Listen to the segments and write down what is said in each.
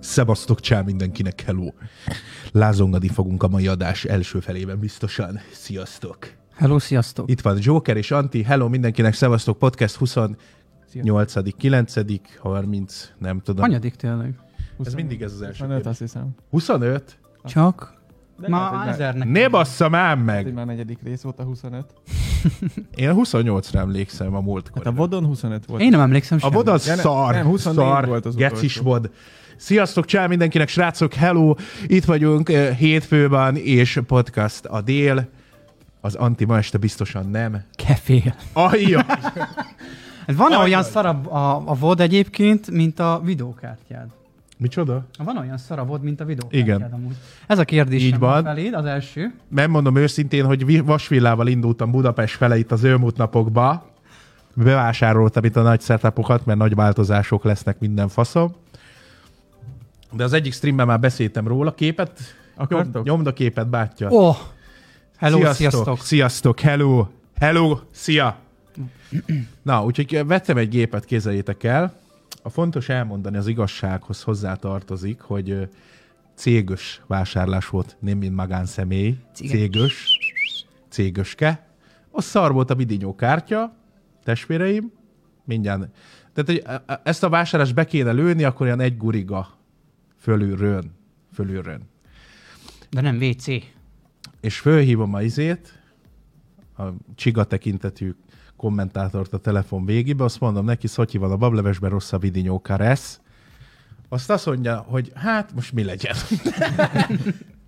Szevasztok, csá mindenkinek, hello! Lázongani fogunk a mai adás első felében biztosan. Sziasztok! Hello, sziasztok! Itt van Joker és Anti, hello mindenkinek, szevasztok, podcast 28 9 30, nem tudom. Hanyadik tényleg? Ez mindig ez az első. 25, kérdés. azt hiszem. 25? Csak De lehet, ma hogy már, ezernek. Ne basszam ám hogy meg! már negyedik rész volt a 25. Én 28-ra emlékszem a múltkor. Hát a Vodon 25 volt. Én nem emlékszem A semmit. voda Ja, ne- szar, nem, 24 szar, volt az gecis utolsó. vod. Sziasztok, csá mindenkinek, srácok, hello! Itt vagyunk eh, hétfőben, és podcast a dél. Az Anti ma este biztosan nem. Kefél. Ajja! Hát Van Ajaj. olyan szarabb a, a vod egyébként, mint a videókártyád? Micsoda? Van olyan szarabb vod, mint a videókártyád Igen. amúgy. Ez a kérdés Így van. feléd, az első. Megmondom őszintén, hogy vi- vasvillával indultam Budapest fele itt az elmúlt napokba. Bevásároltam itt a nagy szertapokat, mert nagy változások lesznek minden faszom. De az egyik streamben már beszéltem róla képet. Nyomd, Akartok? nyomd a képet, bátyja. Ó! Oh. Hello, sziasztok. sziasztok. Sziasztok, hello. Hello, szia. Na, úgyhogy vettem egy gépet, kézeljétek el. A fontos elmondani az igazsághoz hozzátartozik, hogy ö, cégös vásárlás volt, nem mint magánszemély. Cigen. Cégös. Cégöske. A szar volt a bidinyó kártya, testvéreim, mindjárt. Tehát, hogy e- e- ezt a vásárlást be kéne lőni, akkor ilyen egy guriga fölülrön. Fölülrön De nem WC. és fölhívom a izét, a csiga tekintetű kommentátort a telefon végébe, azt mondom neki, Szotyi van a bablevesben, rossz a vidinyóka lesz. Azt azt mondja, hogy hát most mi legyen.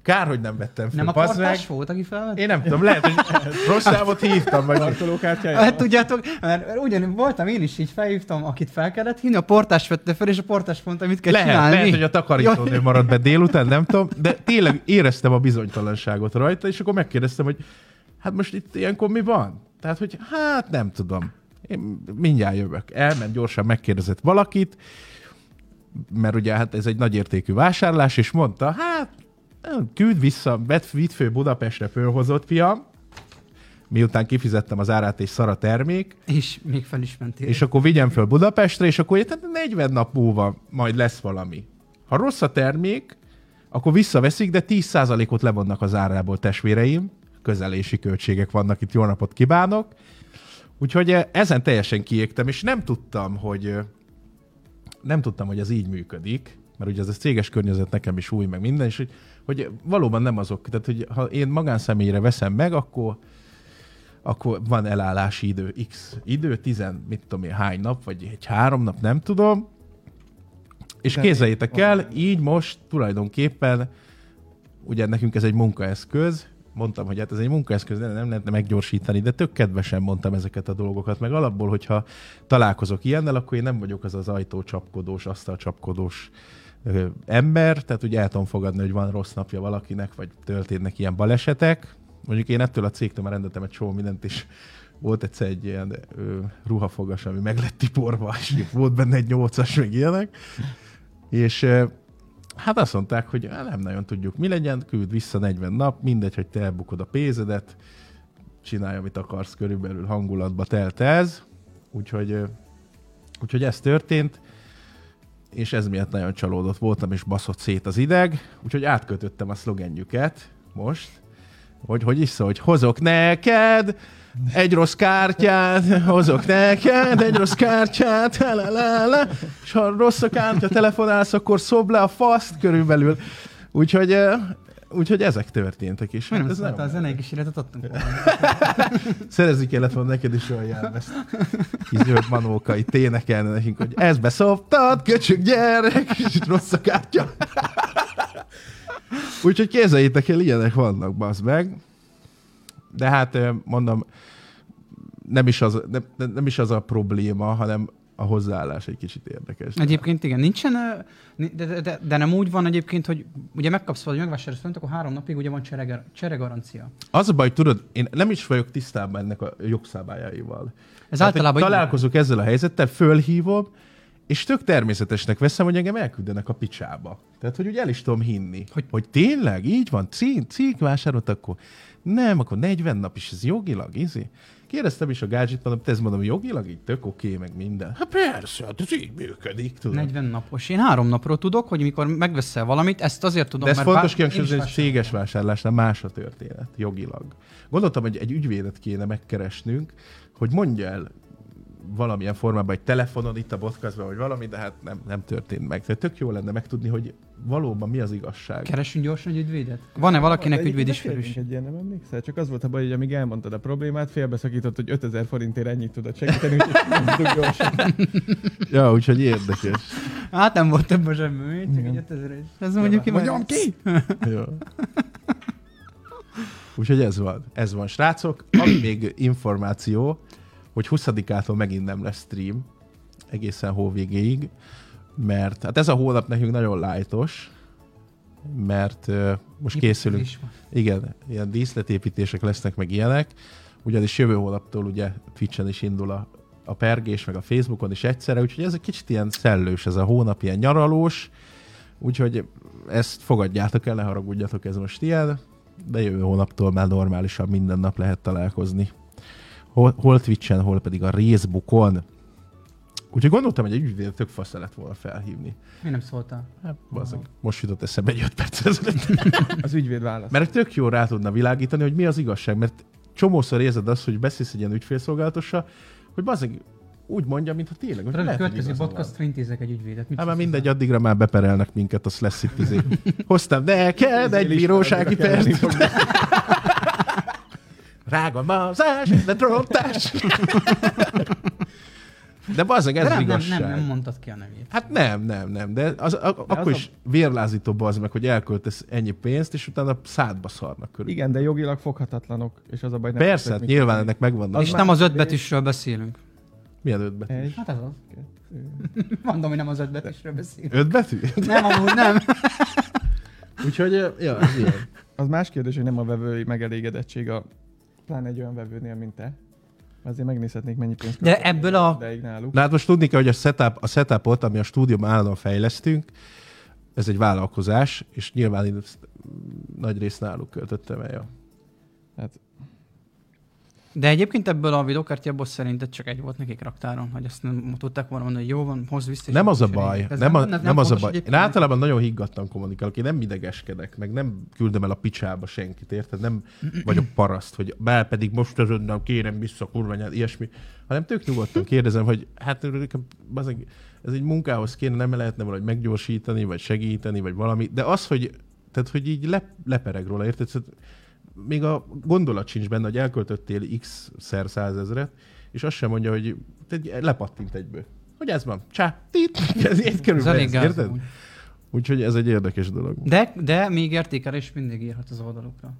Kár, hogy nem vettem fel. Nem a bazd portás meg. volt, aki felvett? Én nem tudom, lehet, hogy rossz számot hívtam. Vagy Parkolókártyája? Hát tudjátok, mert ugyanúgy voltam én is, így felhívtam, akit fel kellett hinni, a portás vette fel, és a portás mondta, mit kell lehet, csinálni. lehet, hogy a takarítónő Jaj. marad be délután, nem tudom, de tényleg éreztem a bizonytalanságot rajta, és akkor megkérdeztem, hogy hát most itt ilyenkor mi van? Tehát, hogy hát nem tudom. Én mindjárt jövök. Elment, gyorsan megkérdezett valakit, mert ugye hát ez egy nagyértékű vásárlás, és mondta, hát küld vissza, vedd vidd fő Budapestre fölhozott, fiam, miután kifizettem az árát és szara termék, És még fel is mentél. és akkor vigyem föl Budapestre, és akkor tehát 40 nap múlva majd lesz valami. Ha rossz a termék, akkor visszaveszik, de 10%-ot levonnak az árából testvéreim. Közelési költségek vannak itt, jó napot kívánok. Úgyhogy eh, ezen teljesen kiégtem, és nem tudtam, hogy eh, nem tudtam, hogy ez így működik, mert ugye ez a céges környezet nekem is új, meg minden, és hogy, hogy valóban nem azok. Tehát, hogy ha én magánszemélyre veszem meg, akkor akkor van elállási idő, x idő, tizen, mit tudom én, hány nap, vagy egy három nap, nem tudom. És De képzeljétek még- el, így most tulajdonképpen, ugye nekünk ez egy munkaeszköz, mondtam, hogy hát ez egy munkaeszköz, de nem lehetne meggyorsítani, de tök kedvesen mondtam ezeket a dolgokat, meg alapból, hogyha találkozok ilyennel, akkor én nem vagyok az az ajtócsapkodós, asztalcsapkodós ö, ember, tehát ugye el tudom fogadni, hogy van rossz napja valakinek, vagy történnek ilyen balesetek. Mondjuk én ettől a cégtől már rendeltem egy csomó mindent, és volt egyszer egy ilyen ö, ruhafogas, ami meg lett tiporva, és volt benne egy nyolcas, meg ilyenek. És ö, hát azt mondták, hogy "Á, nem nagyon tudjuk, mi legyen, küld vissza 40 nap, mindegy, hogy te elbukod a pénzedet, csinálj, amit akarsz, körülbelül hangulatba telt ez. Úgyhogy, ö, úgyhogy ez történt, és ez miatt nagyon csalódott voltam, és baszott szét az ideg, úgyhogy átkötöttem a szlogenjüket most, hogy hogy is szól, hogy hozok neked egy rossz kártyát, hozok neked egy rossz kártyát, la, la, la. és ha rossz a kártya, telefonálsz, akkor szobd le a faszt körülbelül. Úgyhogy, ö, úgyhogy ezek történtek is. Miért nem Hát Ez szólt nagyon- szóval a zenei kísérletet, adtunk volna. Szerezzük telefon neked is olyan jelmezt. Kis zöld manókai ténekelne nekünk, hogy ezt beszoptad, köcsög gyerek, és itt rossz a kártya. Úgyhogy kézzeljétek el, ilyenek vannak, bazd meg. De hát ö, mondom, nem is az, nem, nem- nem is az a probléma, hanem a hozzáállás egy kicsit érdekes. Egyébként igen, nincsen, ö, ni- de, de, de, de nem úgy van egyébként, hogy ugye megkapsz valami, megvásárolsz valamit, akkor három napig ugye van cserege- cseregarancia. Az a baj, tudod, én nem is vagyok tisztában ennek a jogszabályaival. Ez Tehát, hogy általában így találkozok ezzel a helyzettel, fölhívom, és tök természetesnek veszem, hogy engem elküldenek a picsába. Tehát, hogy úgy el is tudom hinni. Hogy, Hogy- hogy tényleg így van, cég, cég vásárolt, akkor nem, akkor 40 nap is, ez jogilag, izi. Kérdeztem is a gázsit, mondom, te ezt mondom, jogilag így tök oké, okay, meg minden. Hát persze, hát ez így működik, tudod. 40 napos. Én három napról tudok, hogy mikor megveszel valamit, ezt azért tudom, De ez mert fontos bár- én is kihangsúlyozni, hogy vásároltam. céges vásárlásnál más a történet, jogilag. Gondoltam, hogy egy ügyvédet kéne megkeresnünk, hogy mondja el valamilyen formában egy telefonon itt a podcastban, vagy valami, de hát nem, nem történt meg. Tehát tök jó lenne megtudni, hogy valóban mi az igazság. Keresünk gyorsan egy ügyvédet? Van-e valakinek Egyébként ügyvéd beszéltünk ismerős? Egy ilyen, nem emlékszel? Csak az volt a baj, hogy amíg elmondtad a problémát, félbeszakított, hogy 5000 forintért ennyit tudod segíteni, úgyhogy mondtuk gyorsan. ja, úgyhogy érdekes. Hát nem volt több a zsebben, csak Igen. egy 5000 -es. Ez mondjuk ki Mondjam ki! ja. Úgyhogy ez van. Ez van, srácok. Ami még információ, hogy 20-ától megint nem lesz stream egészen hóvégéig, mert hát ez a hónap nekünk nagyon lájtos, mert uh, most készülünk igen, ilyen díszletépítések lesznek, meg ilyenek, ugyanis jövő hónaptól ugye Twitch-en is indul a, a pergés, meg a Facebookon is egyszerre, úgyhogy ez egy kicsit ilyen szellős ez a hónap, ilyen nyaralós, úgyhogy ezt fogadjátok el, ne haragudjatok, ez most ilyen, de jövő hónaptól már normálisan minden nap lehet találkozni. Hol, hol Twitch-en, hol pedig a Facebookon. Úgyhogy gondoltam, hogy egy ügyvédet tök fasz lett volna felhívni. Mi nem szóltál? Hát, bazzeg, most jutott eszembe egy 5 perc ezelőtt. Az ügyvéd válasz. Mert tök jó rá tudna világítani, hogy mi az igazság, mert csomószor érzed azt, hogy beszélsz egy ilyen ügyfélszolgálatossal, hogy bazeg, úgy mondja, mintha tényleg. Hogy Tudod, a lehet, hogy következő igaza van. podcast intézek egy ügyvédet. Mit Hát már szólsz mindegy, addigra már beperelnek minket, azt lesz itt izé. Hoztam neked Izé egy bírósági pert. Rága mazás, de trontás. De bazeg, ez hozzá? De az nem, igazság. nem, nem, nem mondtad ki a nevét. Hát nem, nem, nem, de az, a, akkor az is vérlázítóbb az meg, hogy elköltesz ennyi pénzt, és utána szádba szarnak körül. Igen, de jogilag foghatatlanok, és az a baj nem... Persze, hát tudják, nyilván mit ennek megvannak. És És már nem az egy- ötbetűsről beszélünk. Milyen öt betű? tenni. Egy, Hát ez az. kettő. Mondom, hogy nem az ötbetűsről beszélünk. Öt betű? Nem, amúgy nem. Úgyhogy, ja, ez ilyen. Az más kérdés, hogy nem a vevői megelégedettség a pláne egy olyan vevőnél, mint te. Azért megnézhetnék, mennyi pénzt De költöttél ebből a- ideig náluk. Na hát most tudni kell, hogy a, setup, a setupot, ami a stúdióban állandóan fejlesztünk, ez egy vállalkozás, és nyilván én ezt nagy részt náluk költöttem el. Ja. Hát, De egyébként ebből a videokártyából szerinted csak egy volt nekik raktáron, hogy azt nem tudták volna mondani, hogy jó van, hozd vissza. és Nem az a akkor baj, cseréljük. Ez nem, a, nem, az a fontos baj. Én egyébként? általában nagyon higgadtan kommunikálok, én nem idegeskedek, meg nem küldöm el a picsába senkit, érted? Nem vagyok paraszt, hogy bár pedig most azonnal kérem vissza, kurva nyelv, ilyesmi, hanem tök nyugodtan kérdezem, hogy hát nekem bazeg, ez egy munkához kéne, nem lehetne valahogy meggyorsítani, vagy segíteni, vagy valami, de az, hogy, tehát, hogy így le, lepereg róla, érted? Szóval még a gondolat sincs benne, hogy elköltöttél x-szer százezret, és azt sem mondja, hogy te lepattint egyből. Hogy ez van? Csá, tit, ez így Ez kerül. elég Ez, gáz, érted? amúgy. Úgyhogy ez egy érdekes dolog. De, de még értékelés mindig írhat az oldalukra.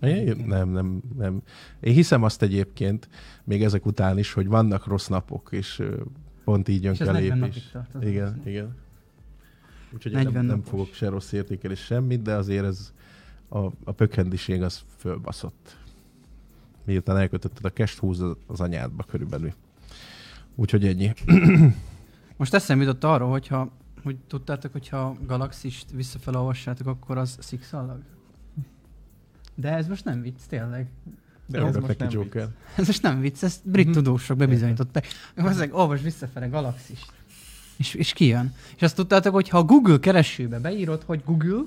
Én, nem, nem, nem. Én hiszem azt egyébként, még ezek után is, hogy vannak rossz napok, és ö, pont így jön És ez ki a 40 lépés. napig tart. az Igen, az. igen. Úgyhogy én nem, 40 nem napos. fogok se rossz értékelés semmit, de azért ez a, a pökhendiség az fölbaszott. Miután elkötötted a kest, húz az- az anyádba körülbelül. Úgyhogy ennyi. Most eszembe jutott arról, hogyha hogy tudtátok, hogyha Galaxist visszafelolvassátok, akkor az szikszallag? De ez most nem vicc, tényleg. de Örülök ez most neki, nem Joker. vicc. Ez most nem vicc, ezt Mhm. brit tudósok bebizonyították. Ezek olvasd visszafele Galaxist. És, és kijön. És azt tudtátok, hogy ha a Google keresőbe beírod, hogy Google,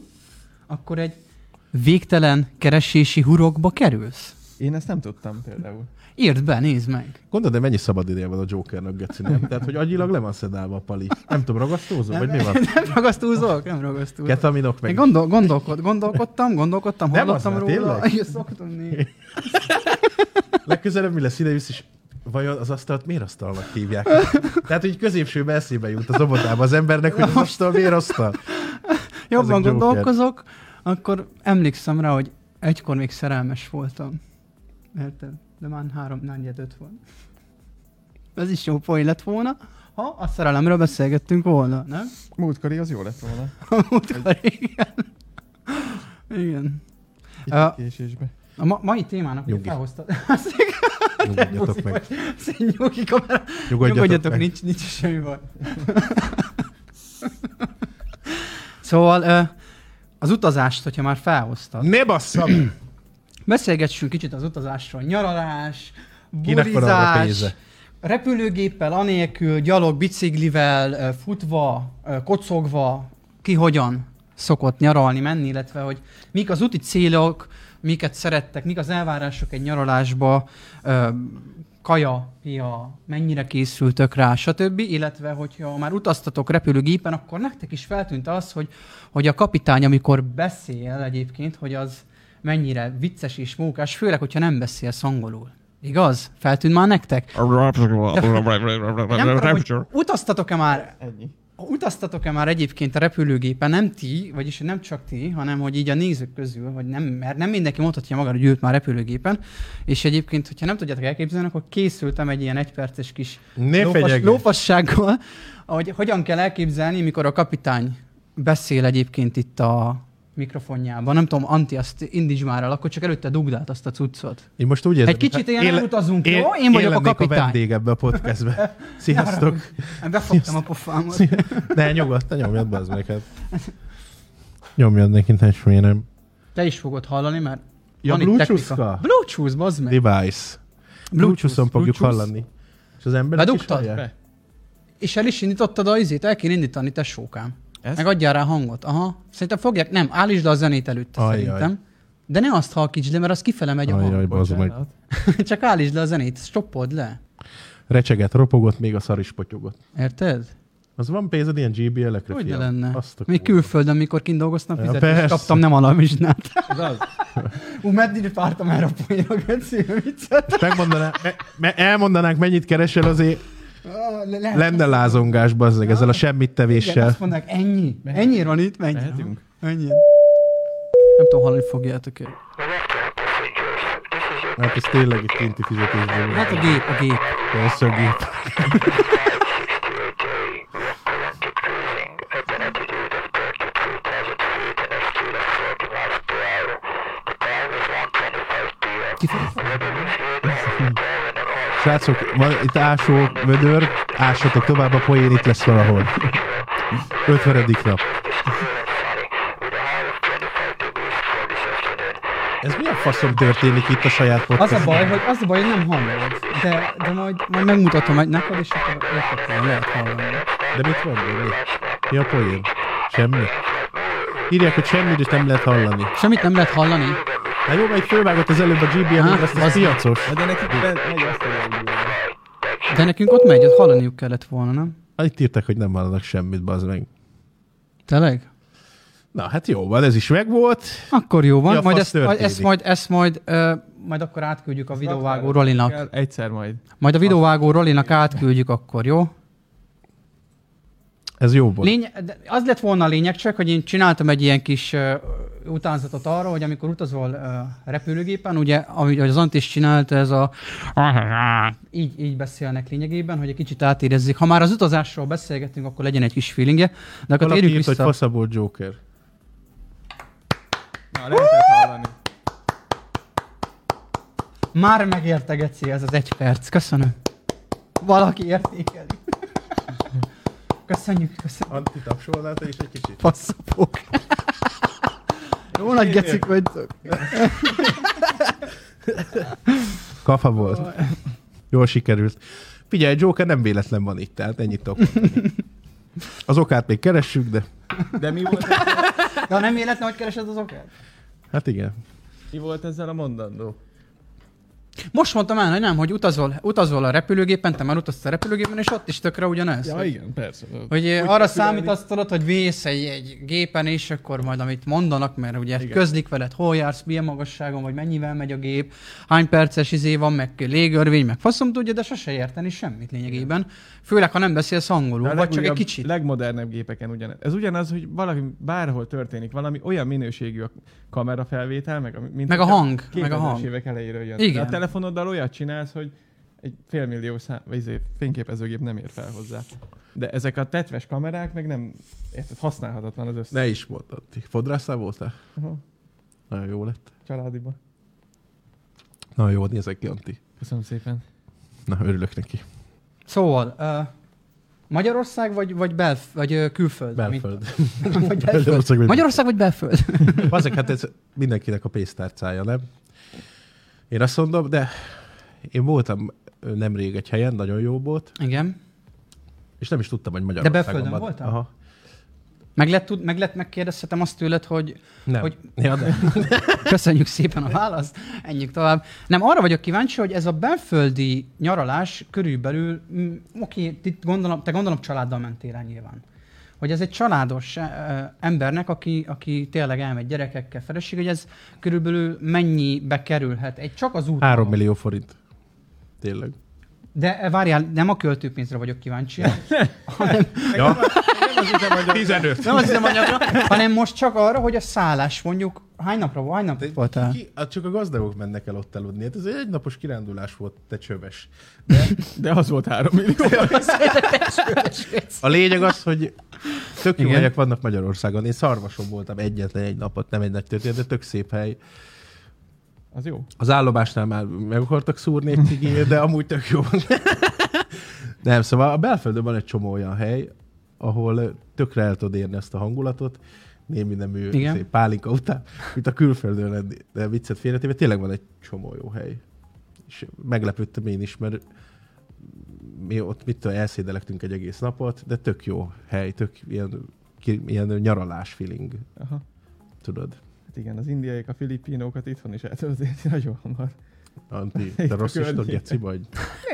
akkor egy végtelen keresési hurokba kerülsz. Én ezt nem tudtam például. Írd be, nézd meg. Gondolod, de mennyi szabad ideje van a Jokernek, Geci, nem? Tehát, hogy agyilag le van szedálva a pali. Nem tudom, ragasztózom, vagy mi van? Nem ragasztúzok? Nem ragasztúzok. Ketaminok Én meg. gondol, gondolkod, gondolkodtam, gondolkodtam, Nem hallottam az már, róla. tényleg? Igen, szoktam nézni. Legközelebb mi lesz ide jössz, és vajon az asztalt miért asztalnak hívják? Tehát, hogy középsőbe eszébe jut az obodába az embernek, hogy az asztal miért asztal. Jobban Joker. gondolkozok, akkor emlékszem rá, hogy egykor még szerelmes voltam. Érted? De már három, negyed, öt volt. Ez is jó poén lett volna, ha a szerelemről beszélgettünk volna, nem? Múltkori az jó lett volna. Múltkor, igen. Igen. Kicsit Ö, késésbe. A ma- mai témának ugye Nyugi. felhoztad. Nyugodjatok meg. Nyugi kamera. Nyugodjatok, nincs, nincs semmi baj. szóval ö, az utazást, hogyha már felhoztad, Ne basszam! beszélgessünk kicsit az utazásról. Nyaralás, Kinek van arra bulizás, pénze? repülőgéppel, anélkül, gyalog, biciklivel, ö, futva, ö, kocogva, ki hogyan szokott nyaralni, menni, illetve hogy mik az úti célok, miket szerettek, mik az elvárások egy nyaralásba, ö, kaja, pia, mennyire készültök rá, stb. Illetve, hogyha már utaztatok repülőgépen, akkor nektek is feltűnt az, hogy, hogy a kapitány, amikor beszél egyébként, hogy az mennyire vicces és mókás, főleg, hogyha nem beszélsz angolul. Igaz? Feltűnt már nektek? Nem tudom, hogy Rapture. utaztatok-e már Ennyi. Utaztatok-e már egyébként a repülőgépen, nem ti, vagyis nem csak ti, hanem hogy így a nézők közül, hogy nem, mert nem mindenki mondhatja magára, hogy ült már repülőgépen, és egyébként, hogyha nem tudjátok elképzelni, akkor készültem egy ilyen egyperces kis lófas, Népfegyeg. lófassággal, hogy hogyan kell elképzelni, mikor a kapitány beszél egyébként itt a mikrofonjában. Nem tudom, Anti, azt indítsd már el, akkor csak előtte dugd át azt a cuccot. Én most úgy érzem, Egy kicsit ilyen én- elutazunk, jó? Én vagyok a lennék kapitány. a vendég ebbe a podcastbe. Sziasztok. Befogtam a pofámat. Ne, nyugodtan nyomjad be az neked. Nyomjad neki, ne nem. Te is fogod hallani, mert Ja, van itt technika. Bluetooth-ka? Bluetooth, bazd meg. Device. Bluetooth-on fogjuk Bluetooth. hallani. És az ember Bedugtad? És el is indítottad a izét, el kell indítani, te sókám. Ezt? Meg adjál rá hangot. Aha. Szerintem fogják, nem, állítsd le a zenét előtte Ajjaj. szerintem. De ne azt halkítsd le, mert az kifele megy a hang. Ajaj, bazd meg. Bocsánat. Csak állítsd le a zenét, stoppod le. Recseget, ropogott, még a szar is potyogott. érted? Az van pénzed ilyen GBL-ekre, Hogy ne fiam? lenne? Azt a Még kurva. külföldön, mikor kint dolgoztam, Ja, fizetést persze. kaptam, nem alamizsnát. Ez az. Ú, meddig vártam erre a poénra, Geci, viccet. Most megmondaná, me, me, elmondanánk, mennyit keresel, azért Ah, le- le- lenne lázongás, bazdeg, ezzel a semmit Igen, tevéssel. azt mondják, ennyi. Ennyi van itt, mennyi. Mehetünk? Ennyi. Nem tudom, hallani fogjátok el. Hát ez tényleg itt kinti fizetésből. van. Hát a gép, a gép. Persze a gép. Srácok, van itt ásó vödör, ássatok tovább, a poén itt lesz valahol. 50. nap. Ez mi a faszom történik itt a saját Az podcast? a baj, hogy, az a baj, hogy nem hallod. De, de majd, majd megmutatom egy neked, és akkor értetlen, lehet hallani. De mit van még? Mi? mi a poén? Semmi? Írják, hogy semmit is nem lehet hallani. Semmit nem lehet hallani? Na jó, mert fölvágott az előbb a GBN, Aha, azt az piacos. Hát De nekik ben- megy azt, hogy De nekünk ott megy, ott hallaniuk kellett volna, nem? Hát Itt írták, hogy nem hallanak semmit, bazd meg. Tényleg? Na, hát jó van, ez is megvolt. Akkor jó van, Ja, majd fasz ezt, majd, ezt történik. majd, ezt majd, ö, majd akkor átküldjük a videóvágó Rolinak. Kell Egyszer majd. Majd a videóvágó Rolinak átküldjük akkor, jó? Ez jó volt. Lény, de az lett volna a lényeg csak, hogy én csináltam egy ilyen kis uh, utánzatot arra, hogy amikor utazol uh, repülőgépen, ugye, ami az Ant is csinált, ez a így, így beszélnek lényegében, hogy egy kicsit átérezzék. Ha már az utazásról beszélgetünk, akkor legyen egy kis feelingje, de akkor Valaki térjünk írt, hogy vissza. faszabó Joker. Na, lehetett hallani. Már megérte, Geci, ez az egy perc. Köszönöm. Valaki értékeli. köszönjük, köszönjük. Anti tapsolnál te is egy kicsit? Passzapok. Jó nagy gecik vagytok. Kafa volt. Jól sikerült. Figyelj, Joker nem véletlen van itt, tehát ennyit tudok mondani. Az okát még keressük, de De mi volt, ezzel, De ha nem életlen, hogy keresed az okát? hát igen. mi volt ezzel a mondandó? Most mondtam el, hogy nem, hogy utazol, utazol a repülőgépen, te már utaztál a repülőgépen, és ott is tökre ugyanez. Ja, igen, persze. Hogy eh, arra számítasz tudod, hogy vész egy, egy gépen, és akkor majd amit mondanak, mert ugye Igen. közlik veled, hol jársz, milyen magasságon, vagy mennyivel megy a gép, hány perces izé van, meg légörvény, meg faszom tudja, de sose érteni semmit lényegében. Főleg, ha nem beszélsz angolul, vagy A csak egy legújabb, kicsit. legmodernebb gépeken ugyanez. Ez ugyanaz, hogy valaki bárhol történik valami, olyan minőségű a kamerafelvétel, meg a, mint Meg a hogyha hang, meg a 2000-es hang. évek elejéről jön. Igen. De A telefonoddal olyat csinálsz, hogy egy félmillió szám, vagy izé, fényképezőgép nem ér fel hozzá. De ezek a tetves kamerák meg nem, érted, használhatatlan az összes Ne is mondd, Antti. Fodrásztál voltál? Aha. Nagyon jó lett. családiba. Nagyon jó, nézek ki, Anti. Köszönöm szépen. Na, örülök neki. Szóval, uh, Magyarország vagy, vagy, belf- vagy uh, külföld? Belföld. Mint, vagy belföld. Magyarország. vagy- Magyarország vagy belföld? Azok, hát ez mindenkinek a pénztárcája, nem? Én azt mondom, de Én voltam ö, nemrég egy helyen, nagyon jó volt, Igen. és nem is tudtam, hogy Magyarországon belföldön van. voltál? Aha. Meg lett, tud, meg lett megkérdezhetem azt tőled, hogy Nem. Hogy... Hogy- Ja, de. köszönjük szépen a választ, menjünk tovább. Nem, arra vagyok kíváncsi, hogy ez a belföldi nyaralás körülbelül, mm, oké, ti gondolom, te gondolom családdal mentél el nyilván. Hogy ez egy családos ö, ö, embernek, aki, aki tényleg elmegy gyerekekkel, feleség, hogy ez körülbelül mennyibe kerülhet? Egy csak az út. 3 millió forint. Tényleg. De eh, várjál, nem a költőpénzre vagyok kíváncsi, hanem, Ja. 15. nem az üzemanyagra, hanem most csak arra, hogy a szállás mondjuk hány napra volt, hány nap voltál? Ki, hát csak a gazdagok mennek el ott aludni. Hát ez egy napos kirándulás volt, te csöves. De az volt 3 millió. A lényeg az, hogy tök jó Igen. helyek vannak Magyarországon. Én szarvason voltam egyetlen egy napot, nem egy nagy történet, de tök szép hely. Az jó. Az állomásnál már meg akartak szúrni egy cigét, de amúgy tök jó. nem, szóval a belföldön van egy csomó olyan hely, ahol tökre el tudod érni ezt a hangulatot, némi nemű Igen. szép pálinka után, mint a külföldön lenni. De viccet félretéve, tényleg van egy csomó jó hely. És meglepődtem én is, mert mi ott mit tudom, elszédelektünk egy egész napot, de tök jó hely, tök ilyen, ki- ilyen nyaralás feeling, Aha. tudod. Hát igen, az indiaiak, a filipinókat itthon is eltöltéti nagyon hamar. Anti, Itt te a rossz is tudod, környéken. geci vagy?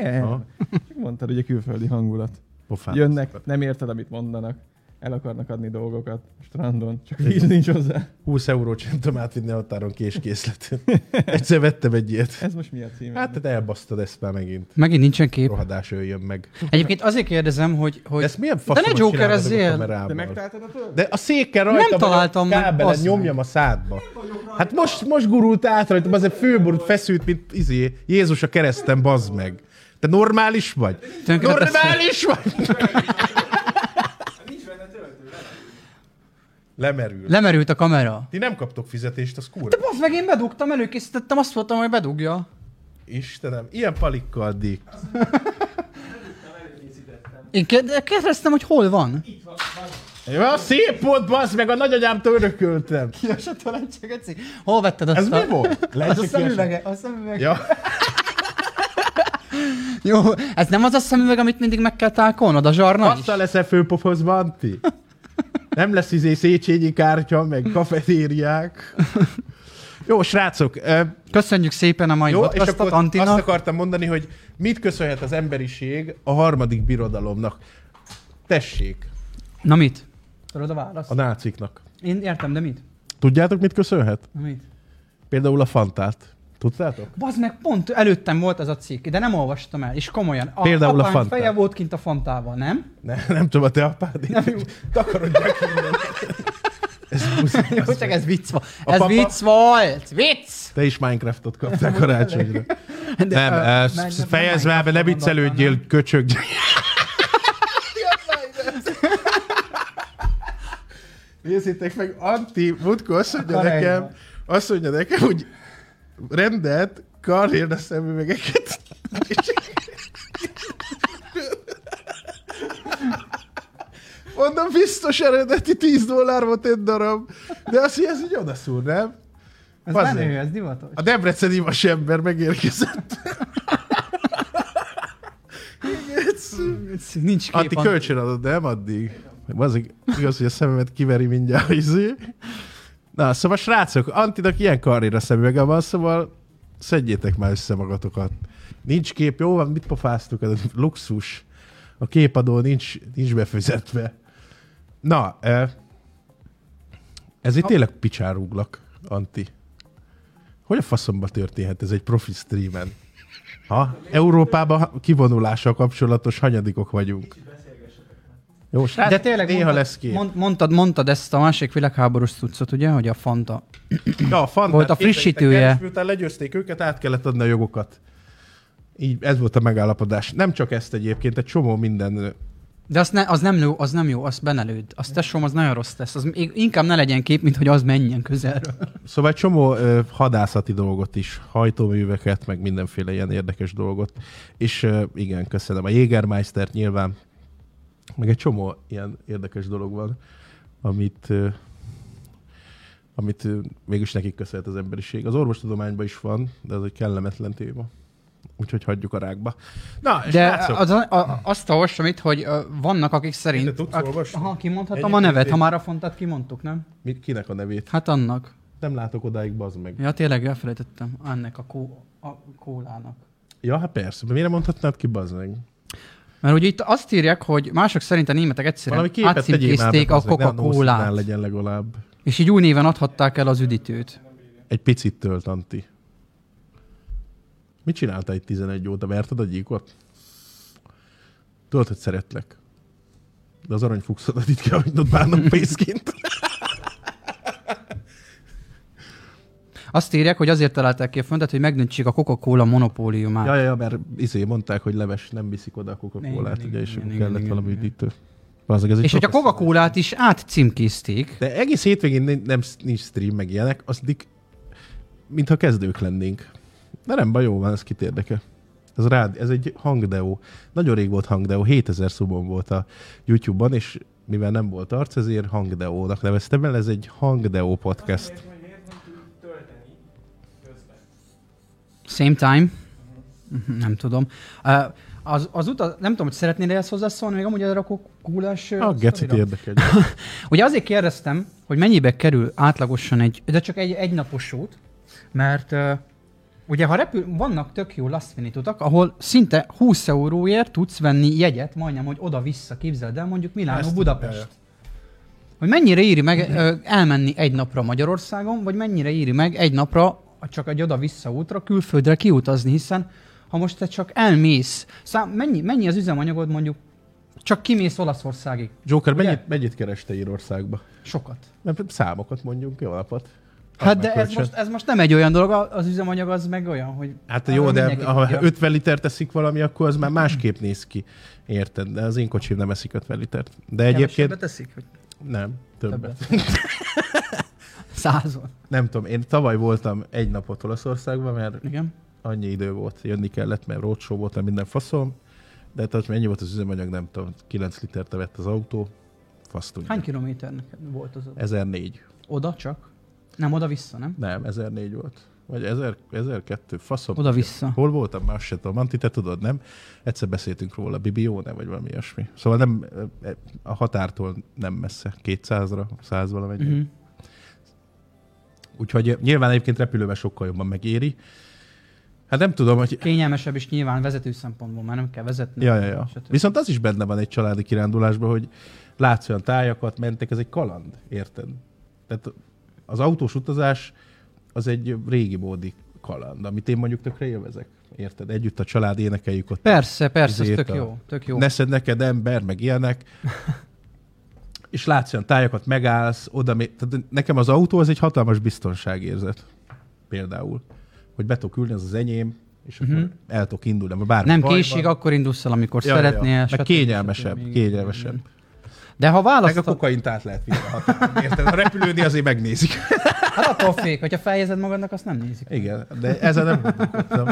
Nem. Csak mondtad, hogy a külföldi hangulat. Pofán. Jönnek, nem érted, amit mondanak. El akarnak adni dolgokat a strandon, csak víz nincs hozzá. 20 eurót sem tudom átvinni a határon késkészlet. Egyszer vettem egy ilyet. Ez most mi a címe? Hát, te elbasztad ezt már megint. Megint nincsen kép. Rohadás jöjjön meg. Egyébként azért kérdezem, hogy, Hogy... hogy Ezt milyen ne faszomat jokerezzél! csináltatok a De kamerával? megtaláltad a tőle? De a széken rajta Nem van, találtam a meg, kábelet bassz meg. nyomjam a szádba. Hát most, most gurult át rajtam, azért főborult feszült, mint izé, Jézus a kereszten, bazd meg. Te normális vagy? Tönkre teszed. normális vagy? Nincs benne töltő. Lemerül. lemerült a kamera. Ti nem kaptok fizetést, az kurva. De basz meg, én bedugtam, előkészítettem, azt voltam, hogy bedugja. Istenem, ilyen palikkal dik. Én kérde- kérdeztem, hogy hol van. Ja, szép volt, bazd meg, a nagyanyámtól örököltem. Ja, se tudom, csak egyszer. Hol vetted azt Ez a... mi volt? Ez a Lehetséges? szemüvege, a szemüveg. Ja. Jó, ez nem az a szemüveg, amit mindig meg kell tálkolnod, a zsarna is? Aztán leszel főpofozva, Anti? Nem lesz izé Széchenyi kártya, meg kafetériák. Jó, srácok, ö, Köszönjük szépen a mai jó, és podcastot akkor azt Antinak. akartam mondani, hogy mit köszönhet az emberiség a harmadik birodalomnak. Tessék, Na mit? Tudod a választ? a náciknak. Én értem, de mit? Tudjátok, mit köszönhet? Na mit? Például a Fantát. Tudtátok? Bazd meg, pont előttem volt ez a cikk, de nem olvastam el, és komolyan. A Például a apám Fanta. feje volt kint a fantával, nem? Ne, nem tudom, a te apád. Nem jó. Takarodjak innen. Ez muszáj. Jó, csak ez vicc volt. A Ez papa- vicc volt! Vicc! Te is Minecraftot kaptál karácsonyra. Nem, ö, ö, meg- sz- fejezd már be, ne Minecraftot viccelődjél, köcsög. Nézzétek meg, Anti Mutko azt mondja Karajba. nekem, azt mondja nekem, hogy rendelt karrier a szemüvegeket. Mondom, biztos eredeti 10 dollár volt egy darab. De azt hiszem, ez így odaszúr, nem? Ez Bazd meg. menő, ez divatos. A debreceni vas ember megérkezett. Nincs kép. Anti kölcsön adod, nem addig? Az igaz, hogy a szememet kiveri mindjárt izé. Na, szóval srácok, Antinak ilyen karriera szemüvege van, szóval szedjétek már össze magatokat. Nincs kép, jó van, mit pofáztuk, ez luxus. A képadó nincs, nincs befizetve. Na, eh, ezért tényleg picsárúglak, Anti. Hogy a faszomba történhet ez egy profi streamen? Ha? Európában kivonulással kapcsolatos hanyadikok vagyunk. Jó, srác, De tényleg néha mondtad, lesz kép. mond, mondtad, mondtad ezt a másik világháborús cuccot, ugye, hogy a Fanta. Ja, a Fantát Volt képzeljétek a frissítője. el, és Miután legyőzték őket, át kellett adni a jogokat. Így ez volt a megállapodás. Nem csak ezt egyébként, egy csomó minden. ö, De az, ne, az, nem jó, az nem jó, azt benelőd. Azt tesóm, az nagyon rossz tesz. Az még- inkább ne legyen kép, mint hogy az menjen közelről. Szóval egy csomó ö, hadászati dolgot is, hajtóműveket, meg mindenféle ilyen érdekes dolgot. És ö, igen, köszönöm a Jägermeistert nyilván, meg egy csomó ilyen érdekes dolog van, amit, ö, amit ö, mégis nekik köszönhet az emberiség. Az orvostudományban is van, de az egy kellemetlen téma. Úgyhogy hagyjuk a rákba. Na, és De látszok, az, a, a, azt olvasom itt, hogy ö, vannak, akik szerint... Te tudsz ak- olvasni? Aha, kimondhatom a Egyébként nevet, én- ha már a fontat kimondtuk, nem? mit, kinek a nevét? Hát annak. Nem látok odáig, bazd meg. Ja, tényleg elfelejtettem. Ennek a, kó, a kólának. Ja, hát persze. de Miért nem mondhatnád ki, bazd meg? Mert ugye itt azt írják, hogy mások szerint a németek egyszerűen Valami képet tegyél már be, átcímkézték a bazd meg, ne a nószínál Coca-Colát, legyen legalább. és így új néven adhatták el az üdítőt. Egy picit tölt, Anti. Mit csináltál itt 11 óta? Verted a gyíkot? Tudod, hogy szeretlek. De az aranyfuxodat itt kell hagynod bánok pénzként. Azt írják, hogy azért találták ki a föntet, hogy megdöntsék a Coca-Cola monopóliumát. ja, ja, ja, mert izé mondták, hogy leves nem viszik oda a Igen, Coca-Colát, igen, ugye, és igen, akkor igen, kellett igen, valami igen. üdítő. Bazzeg, ez egy és hogy a professzionális. Coca-Colát is átcímkézték. De egész hétvégén ni- nem, nincs stream meg ilyenek, az dik, mintha kezdők lennénk. De nem baj, jó van, ez kit érdekel. Ez, rád, ez egy hangdeó. Nagyon rég volt hangdeó, 7000 szubon volt a YouTube-ban, és mivel nem volt arc, ezért hangdeónak neveztem el, ez egy hangdeó podcast. Same time. Mhm, Nem tudom. Ö, Az, az utaz, nem tudom, hogy szeretnél ezt hozzászólni, még amúgy erre a eh, Coca-Colás... ö, A gecit sztorira? érdekel. Ugye azért kérdeztem, hogy mennyibe kerül átlagosan egy, de csak egy egynapos út, mert uh, ugye ha repül, vannak tök jó last minute utak, ahol szinte 20 euróért tudsz venni jegyet, majdnem, hogy oda-vissza képzeld el, mondjuk Milánó, Ezt- Budapest. jaj. Hogy mennyire éri meg ö, elmenni egy napra Magyarországon, vagy mennyire éri meg egy napra csak egy oda-vissza útra külföldre kiutazni, hiszen ha most te csak elmész, szám, mennyi, mennyi az üzemanyagod mondjuk, csak kimész Olaszországig? Joker, Ugye? mennyit, mennyit kereste Írországba? Sokat. Nem, Számokat mondjunk, jó napot. Hát de ez Kölcsön. most, ez most nem egy olyan dolog, a- az üzemanyag az meg olyan, hogy... Hát arra jó, de mindenki tudja. ha 50 liter teszik valami, akkor az már másképp néz ki. Érted? De az én kocsim nem eszik 50 litert. De Kevesebbet egyébként teszik? Hogy nem, többet. többet. Százon. Nem tudom, én tavaly voltam egy napot Olaszországban, mert Igen. annyi idő volt, jönni kellett, mert roadshow volt, minden faszom. De hát az mennyi volt az üzemanyag, nem tudom, 9 litert vett az autó, fasz tudja. Hány kilométernek volt az oda? 1004. Oda csak? Nem, oda-vissza, nem? Nem, 1004 volt. Vagy 1000, 1002, faszom. Oda-vissza. Hol voltam, más se tudom. Antti, te tudod, nem? Egyszer beszéltünk róla, Bibione, vagy valami ilyesmi. Szóval nem, a határtól nem messze, 200-ra, 100 valamennyi. Mhm. Úgyhogy nyilván egyébként repülővel sokkal jobban megéri. Hát nem tudom, hogy... Kényelmesebb is nyilván vezető szempontból, már nem kell vezetni. Ja, ja, ja. Stb. Viszont az is benne van egy családi kirándulásban, hogy látsz olyan tájakat, mentek, ez egy kaland, érted? Tehát az autós utazás az egy régi módi kaland, amit én mondjuk tökre élvezek. Érted? Együtt a család énekeljük ott. Persze, persze, ez Ezért a- tök jó, tök jó. Neszed neked ember, meg ilyenek. És látsz olyan tájakat, megállsz, oda mé- Tehát nekem az autó az egy hatalmas biztonságérzet. Például. Hogy be tudok ülni, az az enyém, és akkor Mhm. el tudok indulni. mert Bármi Nem baj van. késik, akkor indulsz el, amikor Ja, ja, ja. szeretnél. Meg stb. kényelmesebb, Igen, kényelmesebb. igen. De ha Meg a választod, kokaint át lehet vinni a határon, érted? A repülőni azért megnézik. hát attól fék, hogyha feljezed magadnak, azt nem nézik. Igen, de ezzel nem gondolkodtam.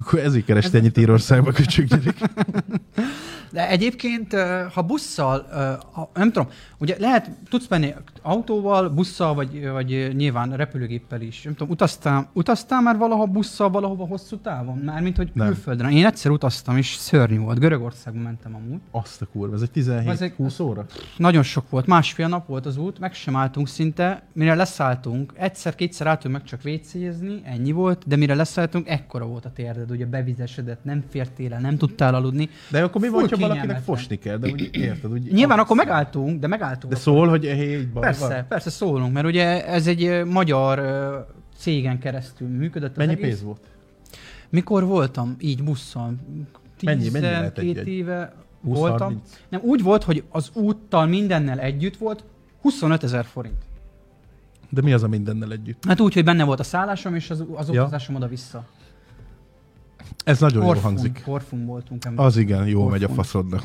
Akkor ezért kereste ennyit Írországba, köcsög gyerek. De egyébként, ö, ha busszal, ö, ha, nem tudom, ugye lehet, tudsz menni autóval, busszal, vagy, vagy ö, nyilván repülőgéppel is. Nem tudom, utaztál, utaztál már valaha busszal valahova hosszú távon? Mármint, hogy Nem. külföldre. Én egyszer utaztam, és szörnyű volt. Görögországba mentem amúgy. Azt a kurva, ez egy Az egy- 17-20 óra? Nagyon sok volt, másfél nap volt az út, meg sem álltunk szinte, mire leszálltunk, egyszer-kétszer álltunk meg csak vécézni, ennyi volt, de mire leszálltunk, ekkora volt a térded, ugye bevizesedett, nem fértél el, nem tudtál aludni. De akkor mi Full van, ha valakinek kényelmetlen. fosni kell? De úgy érted? Úgy, Nyilván akkor megálltunk, de megálltunk. De szól, hogy hé, így baj Persze, van. persze szólunk, mert ugye ez egy ö, magyar ö, cégen keresztül működött az Mennyi egész. pénz volt? Mikor voltam így busszal? Mennyi- mennyi lehet egy 12 jegy? éve 20-30? voltam. Nem, úgy volt, hogy az úttal mindennel együtt volt 25 ezer forint. De mi az a mindennel együtt? Hát úgy, hogy benne volt a szállásom és az, az Ja. utazásom oda-vissza. Ez nagyon jól Korfun- hangzik. Korfun voltunk. ember. Az igen, jól megy a Korfun. faszodnak.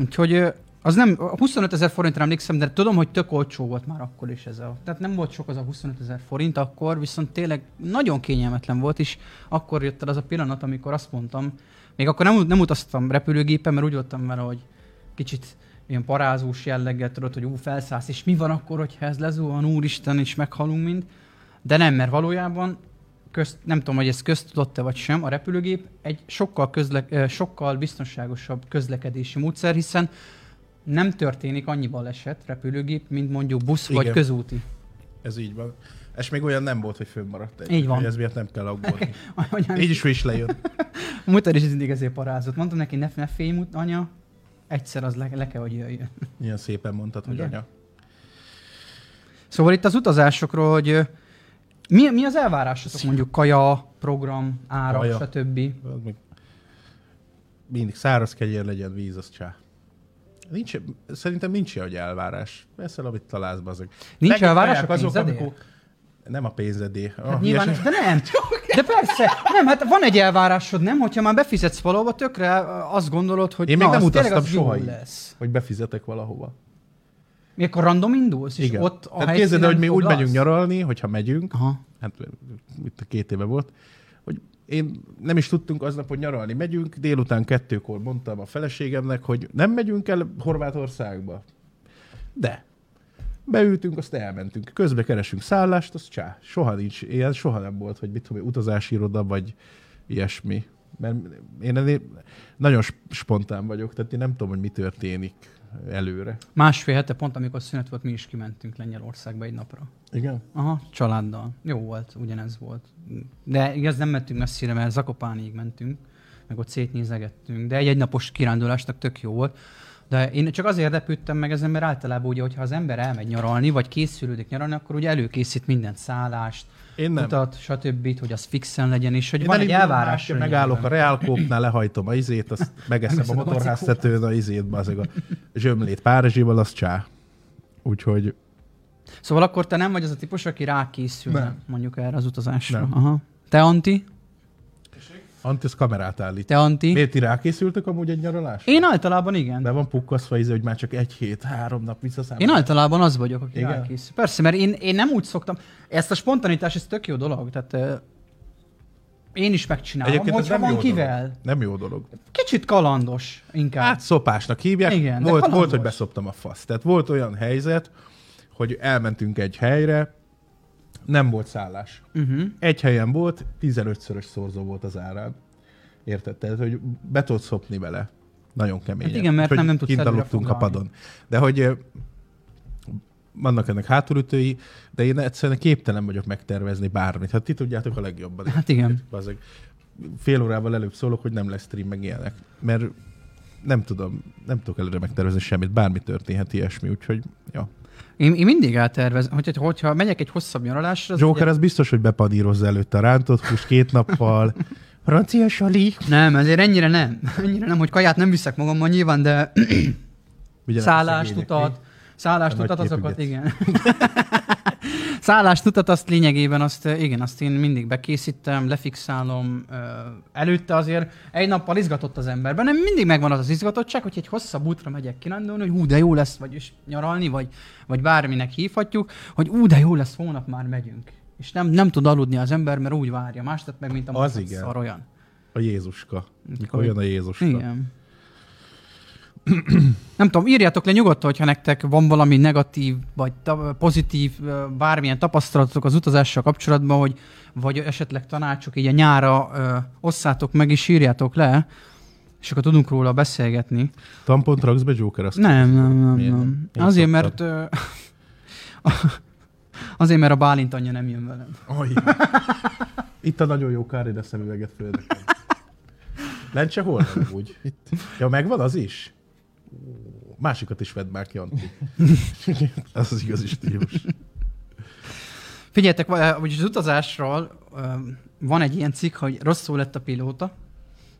Úgyhogy ö, az nem, a 25 ezer forintra emlékszem, de tudom, hogy tök olcsó volt már akkor is ez a. Tehát nem volt sok az a 25 ezer forint akkor, viszont tényleg nagyon kényelmetlen volt, és akkor jött el az a pillanat, amikor azt mondtam, még akkor nem, nem utaztam repülőgépen, mert úgy voltam vele, hogy kicsit ilyen parázós jelleggel tudod, hogy ú, felszállsz, és mi van akkor, hogyha ez lezuhan, úristen, és meghalunk mind. De nem, mert valójában közt, nem tudom, hogy ez köztudott-e vagy sem, a repülőgép egy sokkal, közle, ö, sokkal biztonságosabb közlekedési módszer, hiszen nem történik annyi baleset repülőgép, mint mondjuk busz Igen. vagy Igen. közúti. Ez így van. És még olyan nem volt, hogy fönnmaradt egy. Így van. Hogy ez miért nem kell aggódni. Anyám, Így is, hogy is lejön. A muter is mindig ezért parázott. Mondtam neki, ne, ne félj, mut- anya, egyszer az le, le kell, hogy jöjjön. Ilyen szépen mondtad, hogy Ugye? anya. Szóval itt az utazásokról, hogy ö, mi, mi az elvárásotok mondjuk kaja, program, ára, Kaja. stb. Az még mindig száraz kenyér legyen, víz, az csá. Nincs, szerintem nincs ilyen, hogy elvárás. Veszel, amit találsz, bazeg. Nincs Megint elvárás kaják a pénzedért? Nem a pénzedé. Oh, Hát nyilván, de nem. De persze, nem, hát van egy elvárásod, nem? Hogyha már befizetsz valahova, tökre ö, azt gondolod, hogy Én na, még nem az tényleg utaztam az jó soha így. lesz. Hogy befizetek valahova. Mi akkor random indulsz, és Igen. ott a Tehát helyszínen képzeld el, hogy mi úgy foglalsz? megyünk nyaralni, hogyha megyünk, Aha. hát itt a két éve volt, hogy én nem is tudtunk aznap, hogy nyaralni megyünk, délután kettőkor mondtam a feleségemnek, hogy nem megyünk el Horvátországba. De beültünk, azt elmentünk. Közben keresünk szállást, az csá. Soha nincs ilyen, soha nem volt, hogy mit tudom, én, utazási iroda, vagy ilyesmi. Mert én ennél nagyon sp- spontán vagyok, tehát én nem tudom, hogy mi történik előre. Másfél hete pont, amikor szünet volt, mi is kimentünk Lengyelországba egy napra. Igen? Aha, családdal. Jó volt, ugyanez volt. De igaz, nem mentünk messzire, mert Zakopánig mentünk, meg ott szétnézegettünk, de egy egynapos kirándulásnak tök jó volt. De én csak azért lepődtem meg ezen, mert általában ugye, hogyha az ember elmegy nyaralni, vagy készülődik nyaralni, akkor ugye előkészít mindent, szállást, Én nem. nem. utat, stb., hogy az fixen legyen, és hogy Én van egy elindulok, elvárás. másképp Megállok a reálkópnál, lehajtom a izét, azt megeszem a Megeszed a motorháztetőn a izét, bazeg a zsömlét Párizsival, az csá. Úgyhogy Szóval akkor te nem vagy az a típus, aki rákészül, Nem. mondjuk erre az utazásra. Nem. Aha. Te Anti? Anti az kamerát állít. Te Anti? Miért ti rákészültök amúgy egy nyaralásra? Én általában igen. Be van pukkaszva izé, hogy már csak egy hét, három nap visszaszámít. Én általában az vagyok, aki Igen? rákészül. Persze, mert én, én nem úgy szoktam. Ezt a spontanitás, ez tök jó dolog. Tehát ö, én is megcsinálom, Egyébként ez hogyha nem van jó kivel. Dolog. Nem jó dolog. Kicsit kalandos inkább. Hát Hát, szopásnak hívják. Igen, Igen, de volt, kalandos. volt, hogy beszoptam a fasz. Tehát volt olyan helyzet, hogy elmentünk egy helyre, nem volt szállás. uh-huh. Egy helyen volt, 15-szörös szorzó volt az árán. Érted? Tehát, hogy be tudsz szopni vele. Nagyon kemény. Hát igen, mert nem- nem tudsz Kint előre aludtunk a foglalni. padon. De hogy ö, vannak ennek hátulütői, de én egyszerűen képtelen vagyok megtervezni bármit. Hát ti tudjátok a legjobban. hát igen. Bazeg. Fél órával előbb szólok, hogy nem lesz stream, meg ilyenek. Mert nem tudom, nem tudok előre megtervezni semmit, bármi történhet ilyesmi, úgyhogy, ja. Én, én mindig eltervezem, hogy, hogyha megyek egy hosszabb nyaralásra, az Joker az biztos, hogy bepadírozza előtte a rántott hús két nappal. Francia sali. Nem, azért ennyire nem. Ennyire nem, hogy kaját nem viszek magammal nyilván, de Vigyelek szállást, utat, szállást, A nagy utat, azokat, képügyet. igen. szállást, utat, azt lényegében, azt ö, igen, azt én mindig bekészítem, lefixálom. ö, Előtte azért egy nappal izgatott az emberben, nem mindig megvan az az izgatottság, hogy egy hosszabb útra megyek kirándulni, hogy ú, de jó lesz, vagy is nyaralni, vagy, vagy bárminek hívhatjuk, hogy ú, de jó lesz, hónap már megyünk. És nem, nem tud aludni az ember, mert úgy várja más, tehát meg mint a Az mocat igen. szar olyan. A Jézuska. Mikor jön a Jézuska. Igen. Nem tudom, írjátok le nyugodtan, hogyha nektek van valami negatív, vagy ta- pozitív, ö, bármilyen tapasztalatok az utazással kapcsolatban, hogy, vagy esetleg tanácsok, így a nyára ö, osszátok meg, és írjátok le, és akkor tudunk róla beszélgetni. Tampont raksz be Joker azt. Nem, nem, nem, Miért nem? nem. Én Azért, szoktam. mert... Ö, azért, mert a Bálint anyja nem jön velem. Aj. Itt a nagyon jó Kárida szemüveget főleg. Lencse hol van úgy? Itt. Ja, megvan az is? Ó, Másikat is vedd már ki, Antti. az az igazi stílus. Figyeljetek, va- eh, vagyis az utazásról ö, van egy ilyen cikk, hogy rosszul lett a pilóta,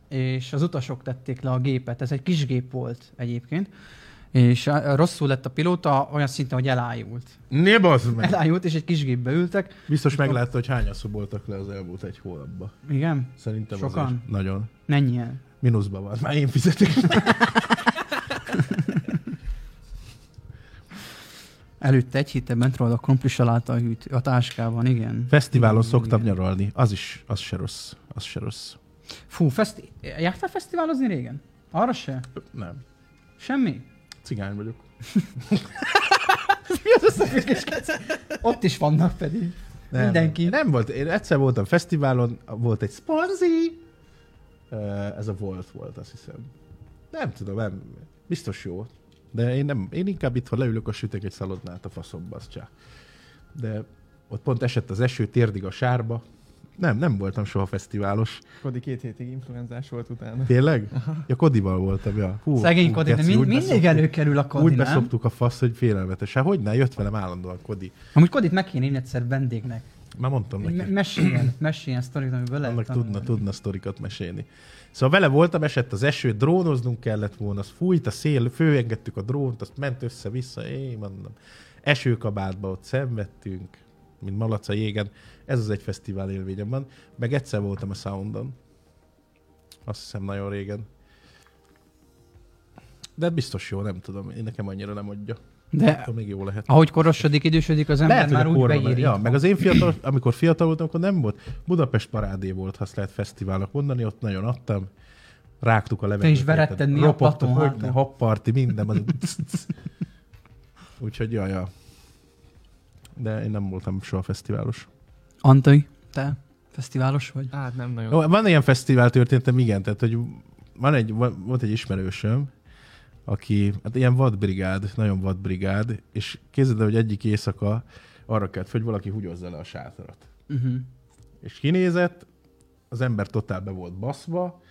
és az utasok tették le a gépet. Ez egy kis gép volt egyébként, és eh, rosszul lett a pilóta olyan szinten, hogy elájult. Ne bazd meg! Elájult, és egy kis gépbe ültek. Biztos meglátta, hogy hányan szoboltak le az elmúlt egy hónapban. Igen, Szerintem Sokan? azért nagyon. mennyien. Minuszban van. Már én fizetek. Előtte egy héttel bent róla a komplis a hűt, a táskában, igen. Fesztiválon Igen, szoktam igen. nyaralni. Az is, az se rossz. Az se rossz. Fú, feszti... jártál fesztiválozni régen? Arra se? Nem. Semmi? Cigány vagyok. Mi az összefüggés? Ott is vannak pedig. Nem, Mindenki. Nem volt. Én egyszer voltam fesztiválon, volt egy szponzi. Ö, Ez a Volt volt, azt hiszem. Nem tudom, nem. Biztos jó. De én, nem, én inkább itt, ha leülök, a sütök egy szalonnát a faszomba, az csá. De ott pont esett az eső, térdig a sárba. Nem, nem voltam soha fesztiválos. Kodi két hétig influenzás volt utána. Tényleg? Ja, Kodival voltam, ja. Hú, Szegény hú, Kodi, de keci, mind, úgy mindig beszoptuk. előkerül a Kodi, Úgy nem? beszoptuk a fasz, hogy félelmetes. Hát hogy ne, jött velem állandóan Kodi. Amúgy Kodit meg kéne én egyszer vendégnek. Már mondtam neki. Me- meséljen, meséljen sztorit, amiből lehet Annak tanulni. tudna, tudna sztorikat mesélni. Szóval vele voltam, esett az eső, drónoznunk kellett volna, az fújt a szél, főengedtük a drónt, azt ment össze-vissza, én mondom. Esőkabátba ott szenvedtünk, mint malac a jégen. Ez az egy fesztivál élményem van. Meg egyszer voltam a Soundon. Azt hiszem nagyon régen. De biztos jó, nem tudom. Én nekem annyira nem adja. De Akkor még jó lehet. ahogy korosodik, idősödik, az ember Lehet, már hogy a úgy korban- beírja. ja, meg az én fiatal, amikor fiatal voltam, akkor nem volt. Budapest parádé volt, ha azt lehet fesztiválnak mondani, ott nagyon adtam. Rágtuk a levegőt. is veretted mi a paton hogy hátul? ne, happarti, minden. Az... Úgyhogy jaj, ja. De én nem voltam soha fesztiválos. Antony, te fesztiválos vagy? Hát nem nagyon. Jó, van ilyen fesztivál történetem, igen, tehát hogy van egy, van- volt egy ismerősöm, aki, hát ilyen vadbrigád, nagyon vadbrigád, és képzeld el, hogy egyik éjszaka arra kelt, fel, hogy valaki húgyozza le a sátrat. Uh-huh. És kinézett, az ember totál be volt baszva,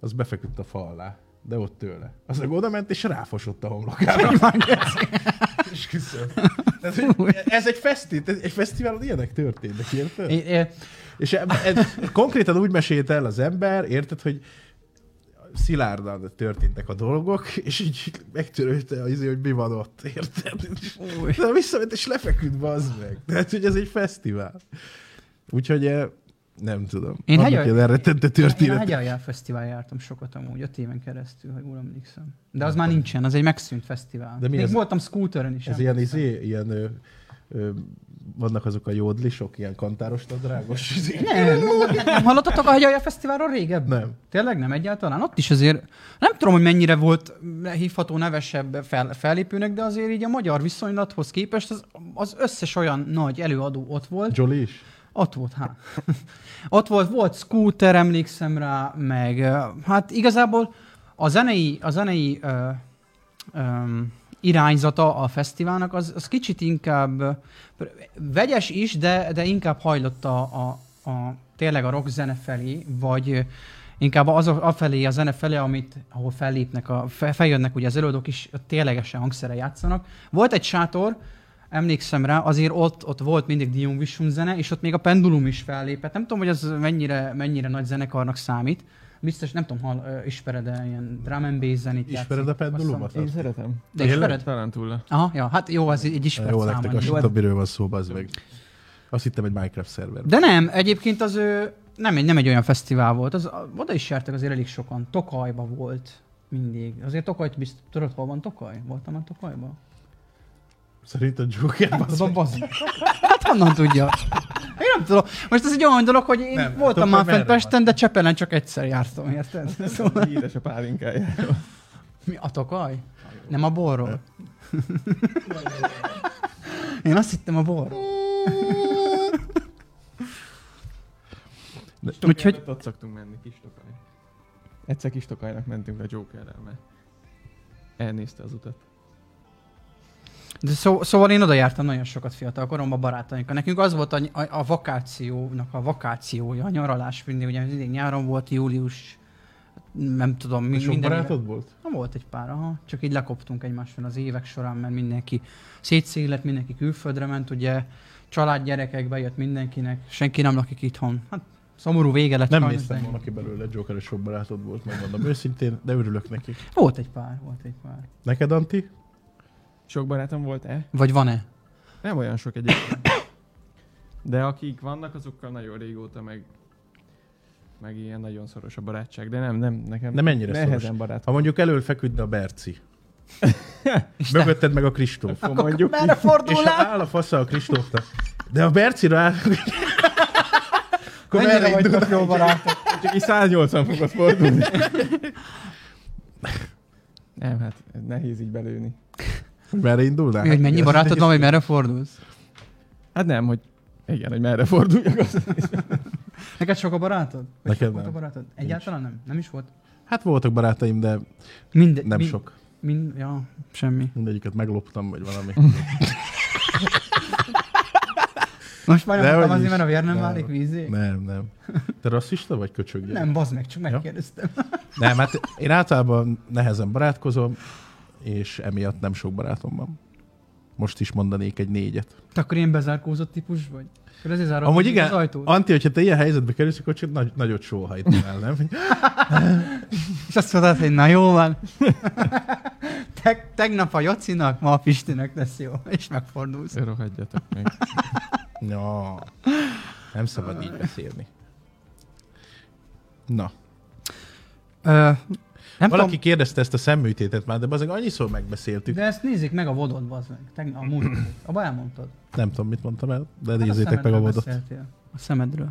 az befeküdt a fa alá, de ott tőle. Az meg oda ment, és ráfosott a homlokára. és küszölt. Tehát, hogy Ez egy, feszti, ez egy fesztiválon ilyenek történnek, érted? É, é, És e- ez, konkrétan úgy mesélte el az ember, érted, hogy szilárdan történtek a dolgok, és így megtörőlte az izé, hogy mi van ott, érted? És- Új. De visszament, és lefeküdt, bazd meg. Tehát, hogy ez egy fesztivál. Úgyhogy eh, nem tudom. Én Vannak hegyal- ilyen elrettentő én a történet. Hegyaljál Fesztivál jártam sokat amúgy, öt éven keresztül, ha jól emlékszem. De az már nincsen, az egy megszűnt fesztivál. De De mi Még ez? voltam scooteren is. Ez ilyen, emlékszem. izé, ilyen ö, ö, vannak azok a jódlisok, ilyen kantáros nadrágos. izé. Nem, nem hallottatok a Hegyalja Fesztiválról régebb? Nem. Tényleg nem egyáltalán? Ott is azért, nem tudom, hogy mennyire volt hívható nevesebb fel, fellépőnek, de azért így a magyar viszonylathoz képest az, az összes olyan nagy előadó ott volt, Jolly is? Ott volt, hát. Ott volt, volt scooter, emlékszem rá, meg ö, hát igazából a zenei, a zenei ö, ö, irányzata a fesztiválnak, az, az kicsit inkább ö, vegyes is, de, de inkább hajlott a, a, a tényleg a rock zene felé, vagy ö, inkább az a, a felé, a zene felé, amit, ahol fellépnek, a, fe- feljönnek ugye az előadók is, ott ténylegesen hangszere játszanak. Volt egy sátor, emlékszem rá, azért ott, ott volt mindig Dion Vision zene, és ott még a Pendulum is fellépett. Nem tudom, hogy az mennyire, mennyire nagy zenekarnak számít. Biztos, nem tudom, hall, ö, ismered-e ilyen drum and bass zenét Ismered játszik. a Pendulumot? Azt hiszem. Én szeretem. Te ismered? Talán túl le. Aha, ja, hát jó, az egy ismert Jó, szám. nektek annyi. azt sem tudom, miről van szó, bazd meg. Azt hittem egy Minecraft szerver. De nem, egyébként az ő nem egy, nem egy olyan fesztivál volt, az, a- oda is jártak azért elég sokan. Tokajba volt mindig. Azért Tokajt biztos, tudod, hol van Tokaj? Voltam már Tokajba? Szerintem Joker, bazd meg. Tudom, bazd. Hát honnan tudja? Én nem tudom. Most ez egy olyan dolog, hogy én Nem, nem, Tokaj voltam már merre fent van? Pesten, de Csepelen csak egyszer jártam, érted? Szóval, Híres a pálinkájáról. mi a Tokaj? Nem a borról? Én azt hittem a borról. Stokaj Úgyhogy- előtt ott szoktunk menni, Kistokaj. Egyszer Kistokajnak mentünk a Jokerrel, mert elnézte az utat. De szó, szóval én oda jártam nagyon sokat fiatal koromban barátainkkal. Nekünk az volt a, a, a vakációnak a vakációja, a nyaralás mindig, ugye mindig nyáron volt, július, nem tudom, mi, Sok minden éve- Hát, barátod volt? Na, volt egy pár, aha. Csak így lekoptunk egymáson az évek során, mert mindenki szétszélet, mindenki külföldre ment, ugye család gyerekek bejött mindenkinek, senki nem lakik itthon. Hát szomorú vége lett. Nem sajnos, néztem de- volna ki belőle, Joker és sok barátod volt, megmondom őszintén, de örülök neki. Volt egy pár, volt egy pár. Neked, Anti? Sok barátom volt-e? Vagy van-e? Nem olyan sok egyébként. De akik vannak, azokkal nagyon régóta meg meg ilyen nagyon szoros a barátság, de nem, nem, nekem De mennyire nehezen szoros? barát. Ha mondjuk elől feküdne a Berci, És te- mögötted meg a Kristóf. Akkor mondjuk, Merre És fordul ha át? áll a fasza a Kristófnak, de a Bercira áll... Akkor merre Mennyire indul? vagytok jó barátok? csak így 180 fokot fordulni. Nem, hát nehéz így belőni. Merre indulnál? Mi, hogy mennyi Ez- barátod van, hogy merre fordulsz? Hát nem, hogy Igen, hogy merre forduljak. Az... Neked sok a barátod? Vagy Neked sok volt nem. a barátod? Egyáltalán nem. Nem is volt? Hát voltak barátaim, de Minde, nem sok. Mind, ja, semmi. Mindegyiket megloptam, vagy valami. Most már nem Dehogy mondtam azért, is. mert a vér nem Nem. válik vízé. nem, nem. Te rasszista vagy köcsög? Nem, bazd meg, csak megkérdeztem. Nem, hát én általában nehezen barátkozom, és emiatt nem sok barátom van. Most is mondanék egy négyet. Te akkor ilyen bezárkózott típus vagy? Akkor ezért zárom Amúgy igen, az ajtót. Anti, hogyha te ilyen helyzetbe kerülsz, akkor csak nagy, nagyot sóhajtnál, nem? Hogy És azt mondod, hogy na jó van. Teg, tegnap a Jocinak, ma a Pistinek lesz jó. És megfordulsz. Rohadjatok meg. Ja, nem szabad így beszélni. Na, Ö, nem valaki tudom, kérdezte ezt a szemműtétet már, de azért annyiszor megbeszéltük. de ezt nézzék meg a vodod, bazd meg. Tegnap a múlt. Abba elmondtad. Nem tudom, mit mondtam el, de Hát nézzétek meg a szemedről vodot. beszéltél. A szemedről.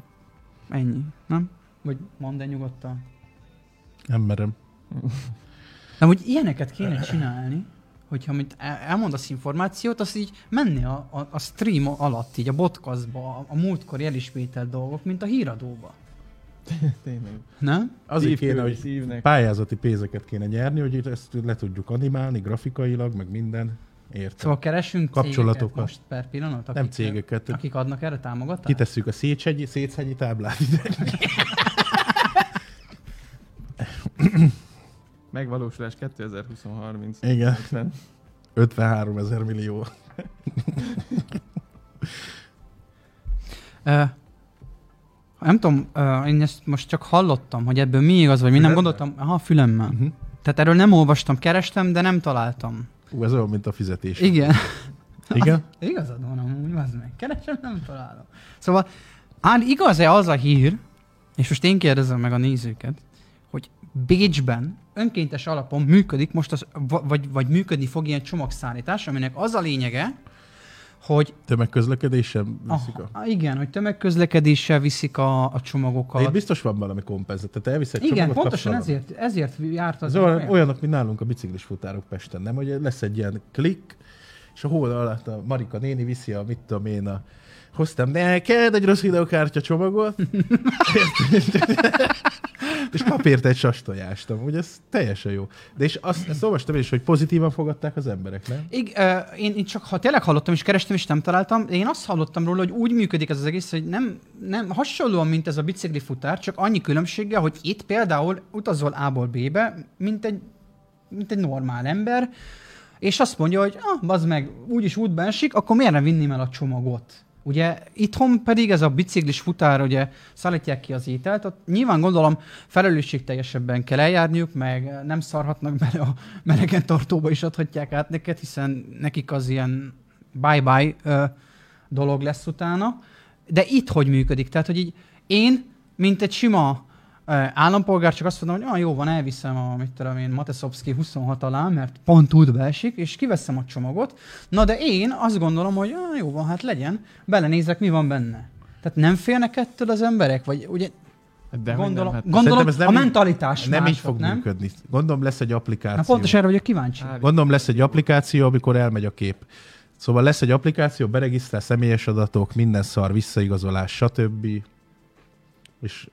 Ennyi, nem? Vagy mondd el nyugodtan. Nem merem. Nem, hogy ilyeneket kéne csinálni, hogyha amit el- elmondasz információt, az így menni a, a, a stream alatt, így a podcastba, a, a múltkor elismételt dolgok, mint a híradóba. Tényleg. Nem? Azért kéne, Szívkörül hogy szívnek. pályázati pénzeket kéne nyerni, hogy ezt le tudjuk animálni grafikailag, meg minden. Értem. Szóval keresünk Kapcsolatokat. cégeket most per pillanat? nem akik- cégeket. tehát Akik adnak erre támogatást? Kitesszük a Széchenyi, Széchenyi táblát ide. Megvalósulás 2030. Igen. Nem. 53 ezer millió. Ö, nem tudom, ö, én ezt most csak hallottam, hogy ebből mi igaz, vagy mi nem Fülemmel? gondoltam. Aha, fülemmel. Uh-huh. Tehát erről nem olvastam, kerestem, de nem találtam. Ú, ez olyan, mint a fizetés. Igen. Igen? Igazad van amúgy, az meg. Keresem, nem találom. Szóval, ám igaz-e az a hír, és most én kérdezem meg a nézőket, hogy Bécsben önkéntes alapon működik most, az, va- vagy, vagy működni fog ilyen csomagszállítás, aminek az a lényege, hogy Tömegközlekedés sem viszik a... aha, igen, hogy tömegközlekedéssel viszik a, a csomagokat. De itt biztos van valami kompenzat, tehát elviszed Igen, csomagot, kapsz pontosan valamit. ezért, ezért járt az. Ez olyan, olyanok, mint nálunk a biciklis futárok Pesten, nem? Hogy lesz egy ilyen klik, és a hóna alatt a Marika néni viszi a, mit tudom én, a, hoztam neked egy rossz videókártya csomagot, és kap érte egy sastojást, amúgy ez teljesen jó. De és azt, ezt olvastam én is, hogy pozitívan fogadták az emberek, nem? Ig, ö, én, én csak ha tényleg hallottam és kerestem és nem találtam, de én azt hallottam róla, hogy úgy működik ez az egész, hogy nem, nem hasonlóan, mint ez a bicikli futár, csak annyi különbséggel, hogy itt például utazol A-ból B-be, mint egy, mint egy normál ember, és azt mondja, hogy ah, az meg úgyis útba esik, akkor miért nem vinném el a csomagot? Ugye itthon pedig ez a biciklis futár, ugye szállítják ki az ételt, ott nyilván gondolom felelősségteljesebben kell eljárniuk, meg nem szarhatnak bele a melegen tartóba is adhatják át neked, hiszen nekik az ilyen bye-bye ö, dolog lesz utána. De itt hogy működik? Tehát, hogy így én, mint egy sima ö, állampolgár, csak azt mondom, hogy ah, jó van, elviszem a, mit tudom én, Mateszowski 26 alá, mert pont útbe esik, és kiveszem a csomagot. Na de én azt gondolom, hogy ah, jó van, hát legyen, belenézek, mi van benne. Tehát nem félnek ettől az emberek? Vagy ugye De hogy gondolom, nem, hát gondolom Szerintem ez nem nem a így- mentalitás nem mások, így fog nem? működni. Gondolom lesz egy applikáció. Na pontos erre vagyok kíváncsi. Hát, Gondolom lesz egy applikáció, amikor elmegy a kép. Szóval lesz egy applikáció, beregisztrál személyes adatok, minden szar, visszaigazolás, stb. És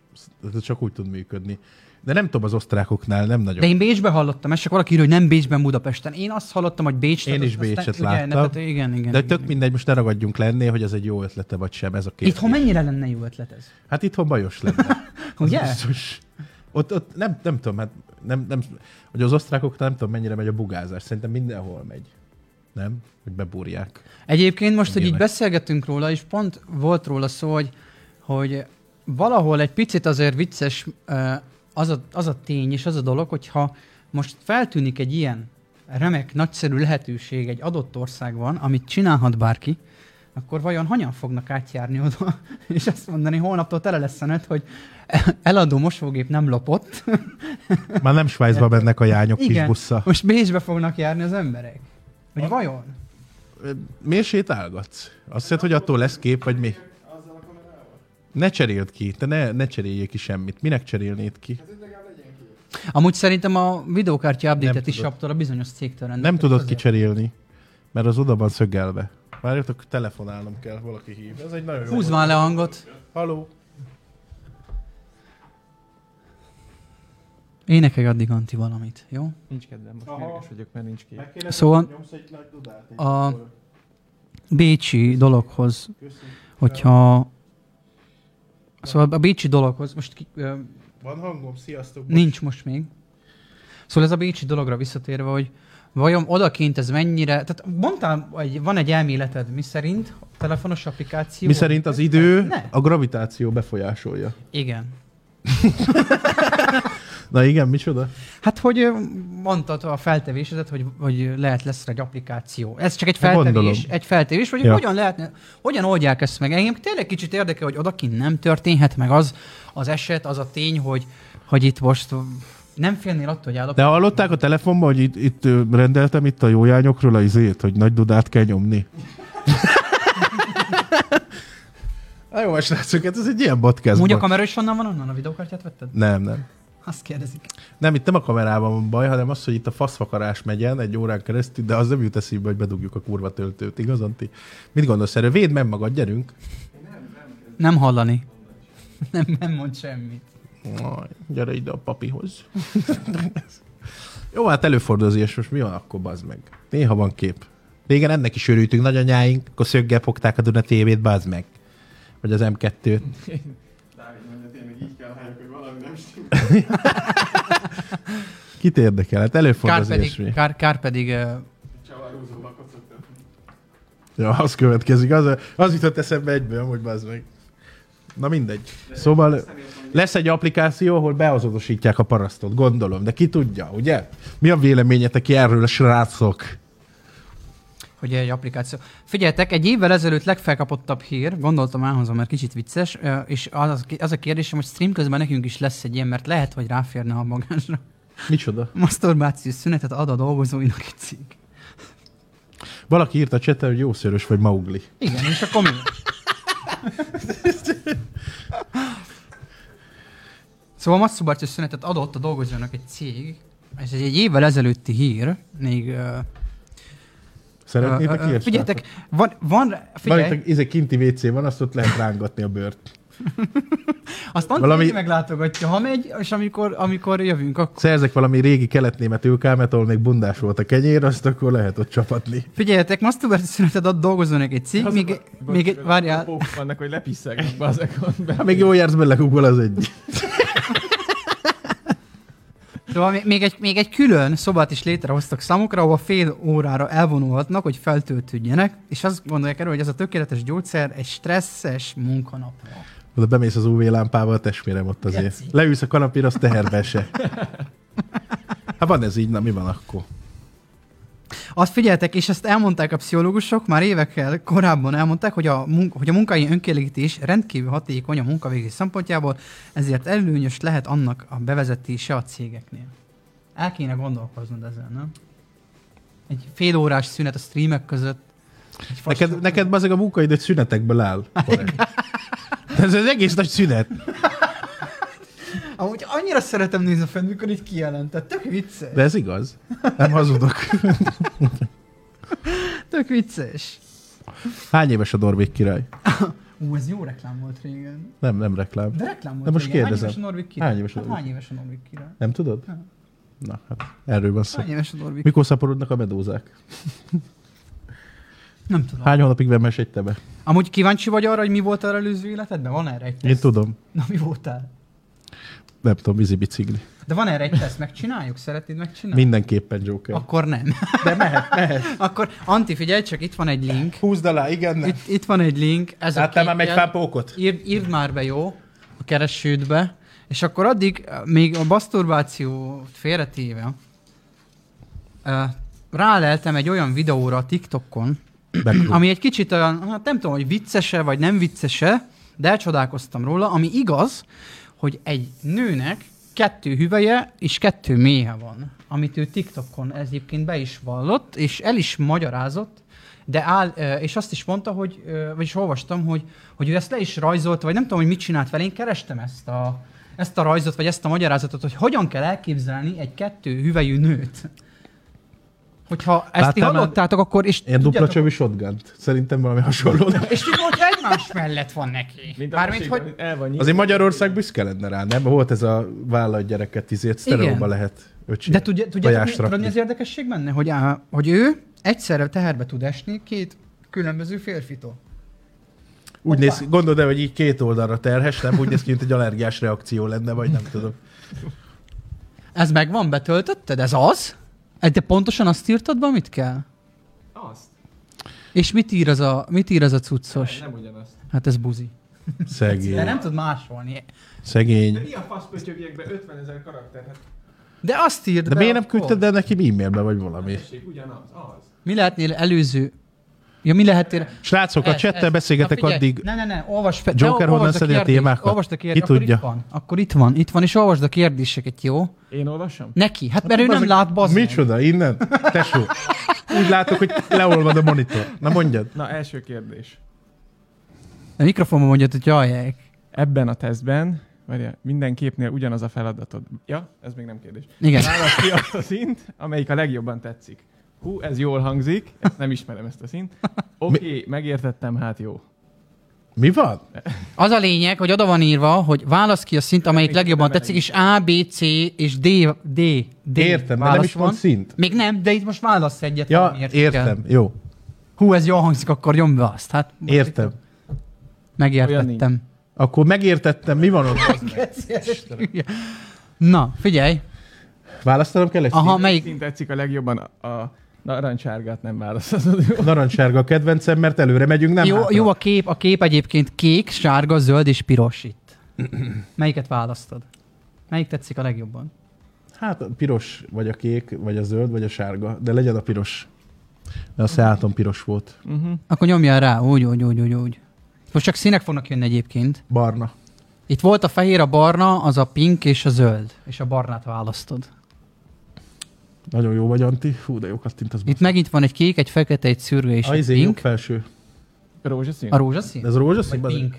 ez csak úgy tud működni. De nem tudom, az osztrákoknál nem nagyon. De én Bécsbe hallottam, ezt csak valaki írja, hogy nem Bécsben, Budapesten. Én azt hallottam, hogy Bécs. Én tehát is azt- aztán- Bécset ugye, láttam. ne- tehát igen, igen. De igen, tök igen. mindegy, most ne ragadjunk lenné, hogy ez egy jó ötlete vagy sem, ez a kérdés. Itthon mennyire lenne jó ötlet ez? Hát itthon bajos lenne. Az Ugye? Biztos. Ott, ott nem, nem tudom, hát nem, nem, hogy az osztrákoknál nem tudom, mennyire megy a bugázás. Szerintem mindenhol megy. Nem? Hogy bebúrják. Egyébként most, hogy így Nyilván. beszélgetünk róla, és pont volt róla szó, hogy, hogy valahol egy picit azért vicces ö, az a, az a tény és az a dolog, hogyha most feltűnik egy ilyen remek, nagyszerű lehetőség egy adott országban, amit csinálhat bárki, akkor vajon hanyan fognak átjárni oda, és azt mondani, holnaptól tele lesz a net, hogy eladó mosógép nem lopott, Már nem Svájcba mennek a jányok kis Igen. busszal. most Bécsbe fognak járni az emberek. Hogy vajon? Miért sétálgatsz? Azt hiszed, hogy attól lesz kép, vagy mi? Ne cseréld ki, te ne, ne cseréljél ki semmit. Minek cserélnéd ki? Amúgy szerintem a videókártya update-et is tudod. kaptad a bizonyos cégtől rendelkezik Nem tudod azért. kicserélni, mert az oda van szögelve. Várjatok, telefonálnom kell, valaki hív. Ez egy nagyon jó. Húzd már le a hangot. Haló. Énekelj addig Anti valamit, jó? Nincs kedvem, most Aha. mérges vagyok, mert nincs kép. Szóval- nyomsz egy nagy dudát. Egy A- akkor. Bécsi dologhoz, Köszi. hogyha... Szóval a Bécsi dologhoz, most ki, ö, Van hangom? Sziasztok. bocs. Nincs most még. Szóval ez a Bécsi dologra visszatérve, hogy vajon odaként ez mennyire... Tehát mondtál, hogy van egy elméleted, mi szerint a telefonos applikáció... Mi szerint az idő Ne. a gravitáció befolyásolja. Igen. Na igen, micsoda? Hát, hogy ö, mondtad a feltevésedet, hogy, hogy lehet lesz egy applikáció. Ez csak egy Hát feltevés, gondolom. egy feltevés, hogy Ja. ja. hogyan lehetne, hogyan oldják ezt meg. Engem tényleg kicsit érdekel, hogy odakint nem történhet meg az az eset, az a tény, hogy, hogy itt most nem félnél attól, hogy állapot... De hallották a telefonban, hogy itt, itt ö, rendeltem itt a jójányokról a izét, hogy nagy dudát kell nyomni. Na jó, srácok, hát ez egy ilyen podcast. Amúgy a volt. kamera is onnan van, onnan a videókártyát vetted? Nem, nem. Azt kérdezik. Nem, itt nem a kamerában van baj, hanem az, hogy itt a faszfakarás megyen egy órán keresztül, de az nem jut eszébe, hogy bedugjuk a kurva töltőt, igazán ti? Mit gondolsz erről? Védd meg magad, gyerünk! Nem hallani. Nem, nem mond semmit. Aj, gyere ide a papihoz. Jó, hát előfordul az ilyesmi, és mi van akkor, bazd meg? Néha van kép. Régen ennek is örültünk nagyanyáink, akkor szöggel fogták a Duna TV-t, bazd meg. Vagy az M2-t. Dávid mondja, tényleg így kell halljuk, hogy valami nem stimmel. Kit érdekel? Hát előfordul Kár az pedig, ilyesmi. kár, kár pedig ö, Csavarózó vakot szoktam. Ja, az következik. Az, az jutott eszembe egyből, hogy bazd meg. Na mindegy. Szóval lesz egy applikáció, ahol beazonosítják a parasztot, gondolom. De ki tudja, ugye? Mi a véleményetek erről, a srácok? hogy egy applikáció. Figyeljetek, egy évvel ezelőtt legfelkapottabb hír, gondoltam elhozom, mert kicsit vicces, ö, és az, az- az a kérdésem, hogy stream közben nekünk is lesz egy ilyen, mert lehet, hogy ráférne a magásra. Micsoda? Maszturbációs szünetet ad a dolgozóinak egy cég. Valaki írt a cseten, hogy jószörös vagy Maugli. Igen, és akkor mi? Szóval masszubárciós szünetet adott a dolgozónak egy cég, és ez egy évvel ezelőtti hír, még... ö, Szeretnétek ö, ö, ilyesmit? Figyeljetek, van, van Van figyelj, itt izé kinti WC van, azt ott lehet rángatni a bört. azt Antti valami- valami... meglátogatja, ha megy, és amikor, amikor jövünk, akkor... Szerzek valami régi kelet-német ülkámet, ahol még bundás volt a kenyér, azt akkor lehet ott csapatni. Figyeljetek, masszubárciós szünetet ad dolgozónak egy cég, még, még egy, várjál, Pók vannak, hogy lepiszegnek be azekon. Ha még jól jársz, belekukol az egy. Szóval még- még egy, még egy külön szobát is létrehoztak számukra, ahol fél órára elvonulhatnak, hogy feltöltődjenek, és azt gondolják erről, hogy ez a tökéletes gyógyszer egy stresszes munkanapra. Oda bemész az UV lámpával, testmérem ott azért. Geci. Leülsz a kanapéra, az teherbe se. Hát van ez így, na mi van akkor? Azt figyeltek, és ezt elmondták a pszichológusok, már évekkel korábban elmondták, hogy a, mun- hogy a munkai önkielégítés rendkívül hatékony a munkavégzés szempontjából, ezért előnyös lehet annak a bevezetése a cégeknél. El kéne gondolkoznod ezen, nem? Egy fél órás szünet a streamek között. Egy fast- Neked, neked bazeg a munkaidőt szünetekből áll. Balázs. Ez az egész nagy szünet. Amúgy annyira szeretem nézni fel, mikor így kijelentett. Tök vicces. De ez igaz. Nem hazudok. Tök vicces. Hány éves a Norvég király? Ú, ez jó reklám volt régen. Nem, nem reklám. De reklám volt De most régen. kérdezem. Hány éves a Norvég király? Hány éves a hát Norvég? hány éves a Norvég király? Nem tudod? Nem. Na, hát erről van szó. Hány éves a Norvég Mikor szaporodnak a medózák? Nem tudom. Hány hónapig vemes egy tebe? Amúgy kíváncsi vagy arra, hogy mi volt az előző életedben? Van erre egy Én teszt? tudom. Na, mi voltál? Nem tudom, vízi bicikli. De van erre egy teszt, megcsináljuk? Szeretnéd megcsinálni? Mindenképpen Joker. Akkor nem. De mehet, mehet. Akkor, Anti, figyelj csak, itt van egy link. Húzd alá, igen, nem. Itt, itt van egy link. Ez a Láttam már egy képen. fápókot? írd, írd már be, jó? A keresődbe. És akkor addig, eh, még a baszturbáció félretéve, eh, ráleltem egy olyan videóra a TikTokon, ami egy kicsit olyan, hát nem tudom, hogy viccese vagy nem viccese, de elcsodálkoztam róla, ami igaz, hogy egy nőnek kettő hüveje és kettő méhe van, amit ő TikTokon ez egyébként be is vallott, és el is magyarázott, de áll, ö, és azt is mondta, hogy, ö, vagyis olvastam, hogy, hogy ő ezt le is rajzolta, vagy nem tudom, hogy mit csinált vele, én kerestem ezt a, ezt a rajzot, vagy ezt a magyarázatot, hogy hogyan kell elképzelni egy kettő hüvelyű nőt. Hogyha ezt ti Láttál már hallottátok, akkor is hát Ilyen dupla tudjátok- csövű shotgun Szerintem valami hasonló. És mi volt, ha egymás mellett van neki? Mint a Mármint, pasikban, hogy El van nyitva. Azért Magyarország büszke lenne rá, nem? Volt ez a vállalt gyereket, izért sztereóba Igen. lehet öcsém. De tudja, tudjátok, mi, Tojásra tudod, mi az rakni. érdekesség benne? Hogy, á, hogy ő egyszerre teherbe tud esni két különböző férfitól. Úgy néz, gondolod el, hogy így két oldalra terhes, nem? Úgy néz ki, mint egy allergiás reakció lenne, vagy nem tudom. Ez meg van, betöltötted? Ez az? Egy- Te pontosan azt írtad be, amit kell? Azt. És mit ír az a, mit ír az a cuccos? Nem ugyanazt. Hát ez buzi. Szegény. De nem tud másolni. De Szegény. mi a fasz pötyögjekbe 50 ezer karakter? Hát De azt írd De be miért nem akkor. küldted el neki e-mailbe, vagy valami? tessék, ugyanaz, az. Mi lehetnél előző? Ja, mi lehetél? Srácok, a Ez, ez. csettel beszélgetek Na, figyelj, addig. Ne, ne, ne, olvasd fel. Joker Te honnan olvasd szedi a kérdést, témákat? Olvasd a kérdést, Ki akkor tudja? itt van. Akkor itt van, itt van, és olvasd a kérdéseket, jó? Én olvasom? Neki, hát mert ő nem Bazeg, lát, bazd meg. Micsoda, innen? Tesó. Úgy látok, hogy leolvad a monitor. Na mondjad. Na, első kérdés. A mikrofonban mondjad, hogy jajják. Ebben a tesztben, várjál, minden képnél ugyanaz a feladatod. Ja, ez még nem kérdés. Igen. Válasz ki azt a szint, amelyik a legjobban tetszik. Hú, ez jól hangzik, ezt nem ismerem ezt a szint. Oké, okay, megértettem, hát jó. Mi van? Az a lényeg, hogy oda van írva, hogy válasz ki a szint, amelyik Még legjobban nem tetszik, és A, B, C és D, D, D Értem, de nem válasz is van szint. Még nem, de itt most válasz egyet. Ja, valami értékel. értem. Jó. Hú, ez jól hangzik, akkor nyomd be azt. Hát, most Értem. itt Megértettem. Akkor megértettem, mi van ott? Na, figyelj. Választanom kell egy Aha, Aha. Melyik melyik? szint tetszik a legjobban? A narancsárgát nem választod. Jó. narancssárga a kedvencem, mert előre megyünk, nem Jó, hátra. jó a kép, a kép egyébként kék, sárga, zöld és piros itt. Melyiket választod? Melyik tetszik a legjobban? Hát a piros, vagy a kék, vagy a zöld, vagy a sárga, de legyen a piros. De a Seaton piros volt. Mhm. Akkor nyomjál rá, úgy, úgy, úgy, úgy, úgy. Most csak színek fognak jönni egyébként. Barna. Itt volt a fehér, a barna, az a pink és a zöld. És a barnát választod. Nagyon jó vagy, Anti. Fú, de jó kattint az. Itt megint van egy kék, egy fekete, egy szürke és a egy izé, jobb pink. felső. Rózsaszín? A rózsaszín? De ez rózsaszín? Vagy bazeg? pink.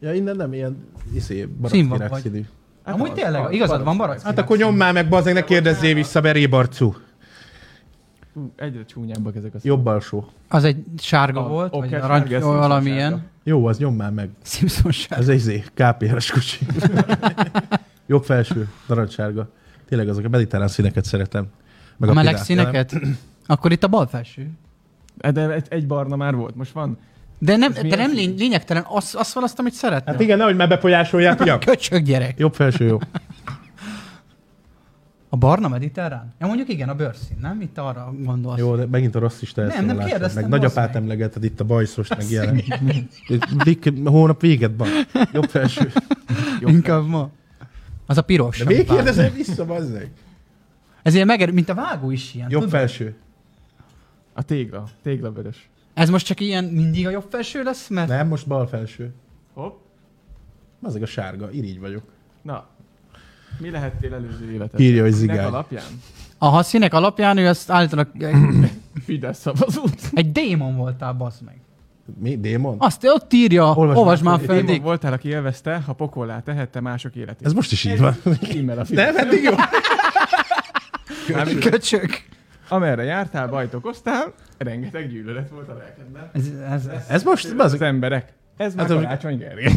Ja, innen nem ilyen izé, Színvak barackvirág vagy. színű. Hát Amúgy az, tényleg, az, igazad az. van, barack. Hát akkor nyomd már meg, bazeg, ne kérdezzél vissza, mert rébarcú. Hú, Egyre csúnyábbak ezek a Jobb alsó. Az egy sárga A- volt, oké, hát vagy sárga, arany, Simpson sárga. valamilyen. Jó, az nyomd már meg. Simpson sárga. Ez egy izé, KPR-es kocsi. jobb felső, narancssárga. Tényleg azok a mediterrán színeket szeretem. Meg A meleg pirát, nem? színeket? Akkor itt a bal felső. színok. De egy, egy barna már volt, most van. De nem, milyen de nem szín? lény, lényegtelen, azt, azt választom, amit szeretném. Hát igen, nehogy már befolyásolják, ugye? Köcsög gyerek. Jobb felső, jó. A barna mediterrán? Ja, mondjuk igen, a bőrszín, nem? Itt arra gondolsz. Jó, de megint a rasszista Nem, nem elszólalás van, kérdeztem, Meg bazd nagyapát meg. emlegeted itt a bajszost, meg ilyen. Dik- Hónap véget van. Jobb felső. Jobb Inkább ma. Az a piros. De még amit választ. kérdezel vissza, bazzeg? Ez ilyen meger, mint a vágó is ilyen. Jobb tudod? felső. A tégla, téglavörös. Ez most csak ilyen mindig a jobb felső lesz, mert... Nem, most bal felső. Hopp. Bazzeg a sárga, irigy vagyok. Na, mi lehettél előző életedben? Írja, hogy Minek zigány. alapján? A színek alapján ő ezt állítólag Fidesz szavazót. egy démon voltál, bazd meg. Mi, démon? Azt ott írja, Olvasd olvasd, már már föl, fel, Démon Dick. voltál, aki élvezte, ha pokollá tehette mások életét. Ez most is így van. Címmel a Fidesz. Nem, eddig jó. Köcsög. Amerre jártál, bajt okoztál, rengeteg gyűlölet volt a lelkedben. Ez, ez, ez. Ez most, Az bazzeg. emberek. Ez már Hát, hogy- Karácsony Gergely.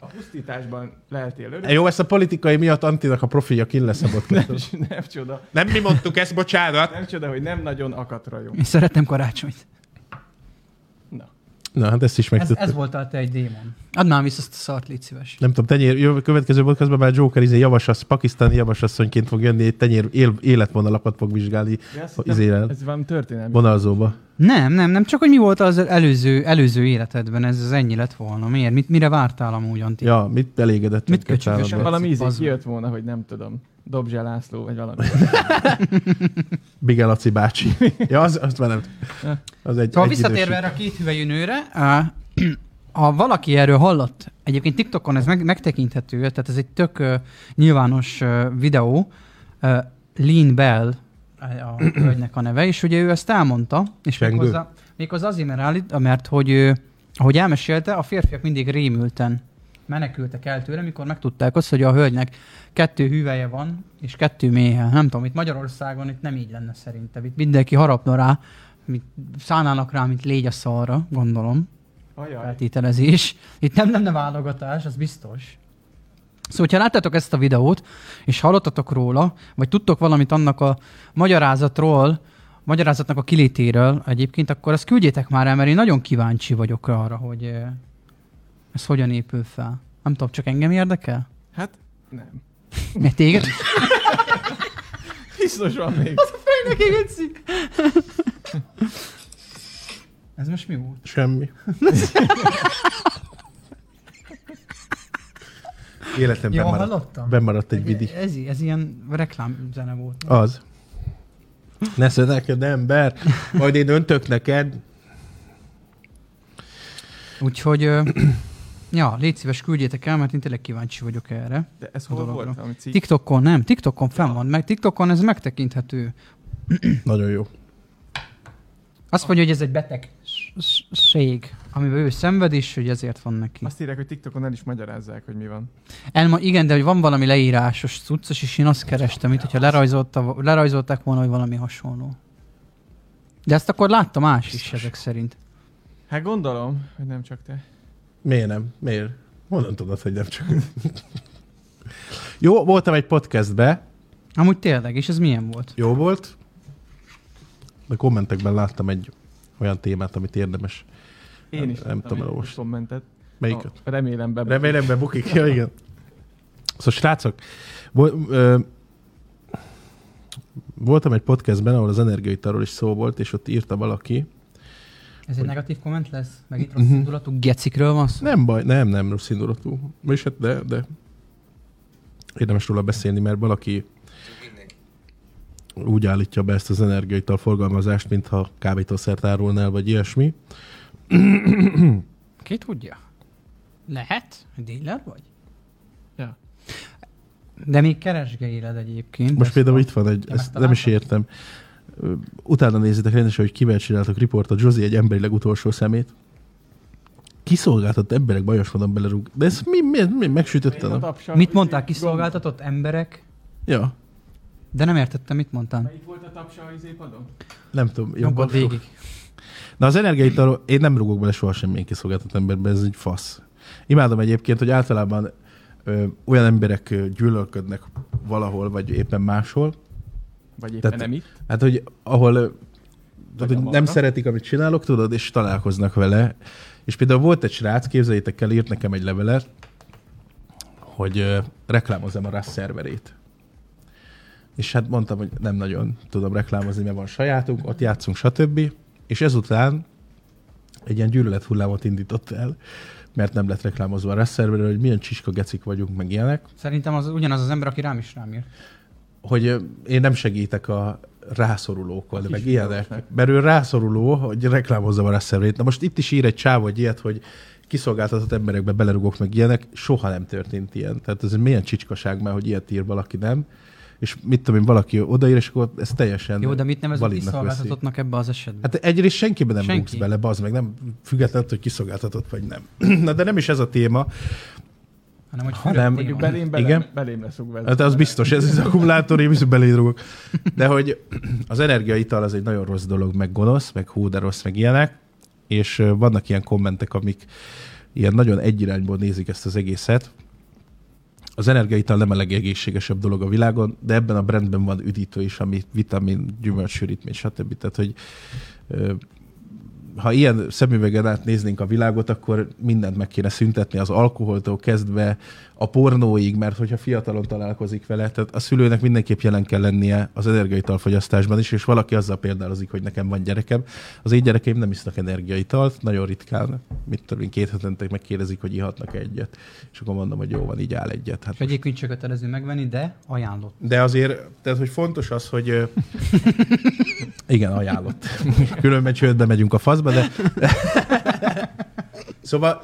A pusztításban leltél örök, Jó, ezt a politikai miatt Antinak a profilja kin leszabott. és nem csoda, Nem mi mondtuk ezt, bocsánat. nem csoda, hogy nem nagyon akadt rajong. Én szeretem karácsonyt. Na, Na, hát ezt is Ez, ez megtudtuk. voltál te egy démon. Adnám vissza azt a szart, légy szíves. Nem tudom, tenyér, jövő következő podcastban már Joker izé javasasz, pakisztáni javasasszonyként fog jönni, egy tenyér él, életvonalakat fog vizsgálni de azt a hittem, izére, ez van történelmi. vonalzóba. Nem, nem, nem, csak hogy mi volt az előző, előző életedben, ez az ennyi lett volna. Miért? Mit, mire vártál amúgy, Antti? Ja. Ja, mit elégedett? Mit minket köcsögösen állandóan. van? valami ízig Bazd meg. kijött volna, hogy nem tudom, Dobzsá László, vagy valami. Bige Laci bácsi. ja, az, azt már nem. Az egy, Szóval egy visszatérve időség. erre a két hüvelyű nőre, á, ha valaki erről hallott, egyébként TikTokon ez meg, megtekinthető, tehát ez egy tök ö, nyilvános ö, videó, ö, Lean Bell a- a hölgynek a neve, és ugye ő ezt elmondta, és Csengő. méghozzá, méghozzá azért, mert állít, mert hogy ő, ahogy elmesélte, a férfiak mindig rémülten menekültek el tőle, mikor megtudták azt, hogy a hölgynek kettő hüveje van, és kettő méhe. Nem tudom, itt Magyarországon itt nem így lenne szerintem. Itt mindenki harapna rá, mint szánának rá, mint légy a szarra, gondolom. Ajaj. Feltételezés. Itt nem lenne válogatás, az biztos. Szóval, ha láttátok ezt a videót, és hallottatok róla, vagy tudtok valamit annak a magyarázatról, magyarázatnak a kilétéről egyébként, akkor azt küldjétek már el, mert én nagyon kíváncsi vagyok arra, hogy eh, ez hogyan épül fel. Nem tudom, csak engem érdekel? Hát nem. Mert téged? Biztos van még. Fejnek égetsz. Ez most mi volt? Semmi. Életemben Jól maradt, hallottam? bemaradt egy vidi. Ez, ez ilyen reklámzene volt. Az. Ne szönekedj, ember! Majd én öntök neked. Úgyhogy, ö, ja, légy szíves, küldjétek el, mert én tényleg kíváncsi vagyok erre. De ez A hol dologra. volt, ami cikk? TikTokon nem, TikTokon fenn van, meg TikTokon ez megtekinthető. Nagyon jó. Azt mondja, hogy ez egy betegség, amiben ő szenved is, hogy ezért van neki. Azt írják, hogy TikTokon el is magyarázzák, hogy mi van. Elma, igen, de hogy van valami leírásos cuccos, és én azt kerestem, mint hogyha lerajzolta, lerajzolták volna, hogy valami hasonló. De ezt akkor látta más is ezek szerint. Hát gondolom, hogy nem csak te. Miért nem? Miért? Honnan tudod, hogy nem csak... jó, voltam egy podcastbe, Amúgy tényleg, és ez milyen volt? jó volt. De kommentekben láttam egy olyan témát, amit érdemes. Én Nem- is nem tudom egy elolvasni. kommentet. Melyiket? Ah, Remélem be. Remélem bebukik. Ja, igen. Szóval srácok, vol- ö, voltam egy podcastben, ahol az energiaitarról is szó volt, és ott írta valaki. Ez egy Hogy- negatív komment lesz? Meg itt rossz Mhm. indulatú gecikről van szó? Nem baj, nem, nem rossz indulatú. Vagyis hát de, de érdemes róla beszélni, mert valaki úgy állítja be ezt az energiaital forgalmazást, mintha kábítószert árulnál, vagy ilyesmi. Ki tudja? Lehet? Dealer vagy? Ja. De még keresgéled egyébként. Most ezt például a- itt van egy, Ja, ezt nem is értem. Ö, Utána nézzétek rendesen, hogy kivel csináltak riportot, Josie egy emberileg utolsó szemét. Kiszolgáltatott emberek bajos módon belerúg. De ez mi, mi, mi megsütötte Én a a... tapsa- Mit mondták kiszolgáltatott emberek? Ja, De nem értettem, mit mondtál. Melyik volt a tapsa a izépadon? nem tudom. Jobban jobban- végig. Na az energiaital, én nem rúgok bele soha semmilyen kiszolgáltatott emberbe, ez egy fasz. Imádom egyébként, hogy általában ö, olyan emberek ö, gyűlölködnek valahol, vagy éppen máshol, Vagy éppen Tehát- nem itt. Hát, hogy ahol ö, tudod, hogy amarra. nem szeretik, amit csinálok, tudod, és találkoznak vele. És például volt egy srác, képzeljétek el, írt nekem egy levelet, hogy ö, reklámozzam a RAS szerverét. És hát mondtam, hogy nem nagyon tudom reklámozni, mert van sajátunk, ott játszunk, stb. És ezután egy ilyen gyűlölet hullámot indított el, mert nem lett reklámozva a RAS szerverre, hogy milyen csiska gecik vagyunk, meg ilyenek Szerintem az ugyanaz az ember, aki rám is rám ír. hogy ö, én nem segítek a rászorulókkal, meg ilyenek. videósnak. Mert ő rászoruló, hogy reklámozza a rászervét. Na most itt is ír egy csáv, hogy ilyet, hogy kiszolgáltatott emberekbe belerugok meg ilyenek, soha nem történt ilyen. Tehát ez milyen csicskaság már, hogy ilyet ír valaki, nem? És mit tudom én, valaki odaír, és akkor ez teljesen Jó, de mit nevezünk validnak veszi. kiszolgáltatottnak ebbe az esetben? Hát egyrészt senkiben nem Senki. Senki. rúgsz bele, bazd meg, nem függetlenül, attól, hogy kiszolgáltatott vagy nem. Na de nem is ez a téma, Hanem, hogy Hát, ha fülöp nem, téma. Mondjuk belém, belém, Igen. belém leszok vele. Hát az biztos, ez az akkumulátor, én viszont belédrogok. De hogy az energiaital az egy nagyon rossz dolog, meg gonosz, meg hú, de rossz, meg ilyenek. És ö, vannak ilyen kommentek, amik ilyen nagyon egy irányból nézik ezt az egészet. Az energiaital nem a legegészségesebb dolog a világon, de ebben a brandben van üdítő is, ami vitamin, gyümölcsürítmény, stb. Tehát, hogy ö, ha ilyen szemüvegen át néznénk a világot, akkor mindent meg kéne szüntetni, az alkoholtól kezdve a pornóig, mert hogyha fiatalon találkozik vele, tehát a szülőnek mindenképp jelen kell lennie az energiaitalfogyasztásban is, és valaki azzal példálozik, hogy nekem van gyerekem. Az én gyerekeim nem isznak energiaitalt, nagyon ritkán, mit tudom én, két hetente megkérdezik, hogy ihatnak egyet, és akkor mondom, hogy jó van, így áll egyet. Hát És egyébként csak kötelező megvenni, de ajánlott. de azért, tehát hogy fontos az, hogy ö, igen, ajánlott. Különben csődbe megyünk a faszba, de szóval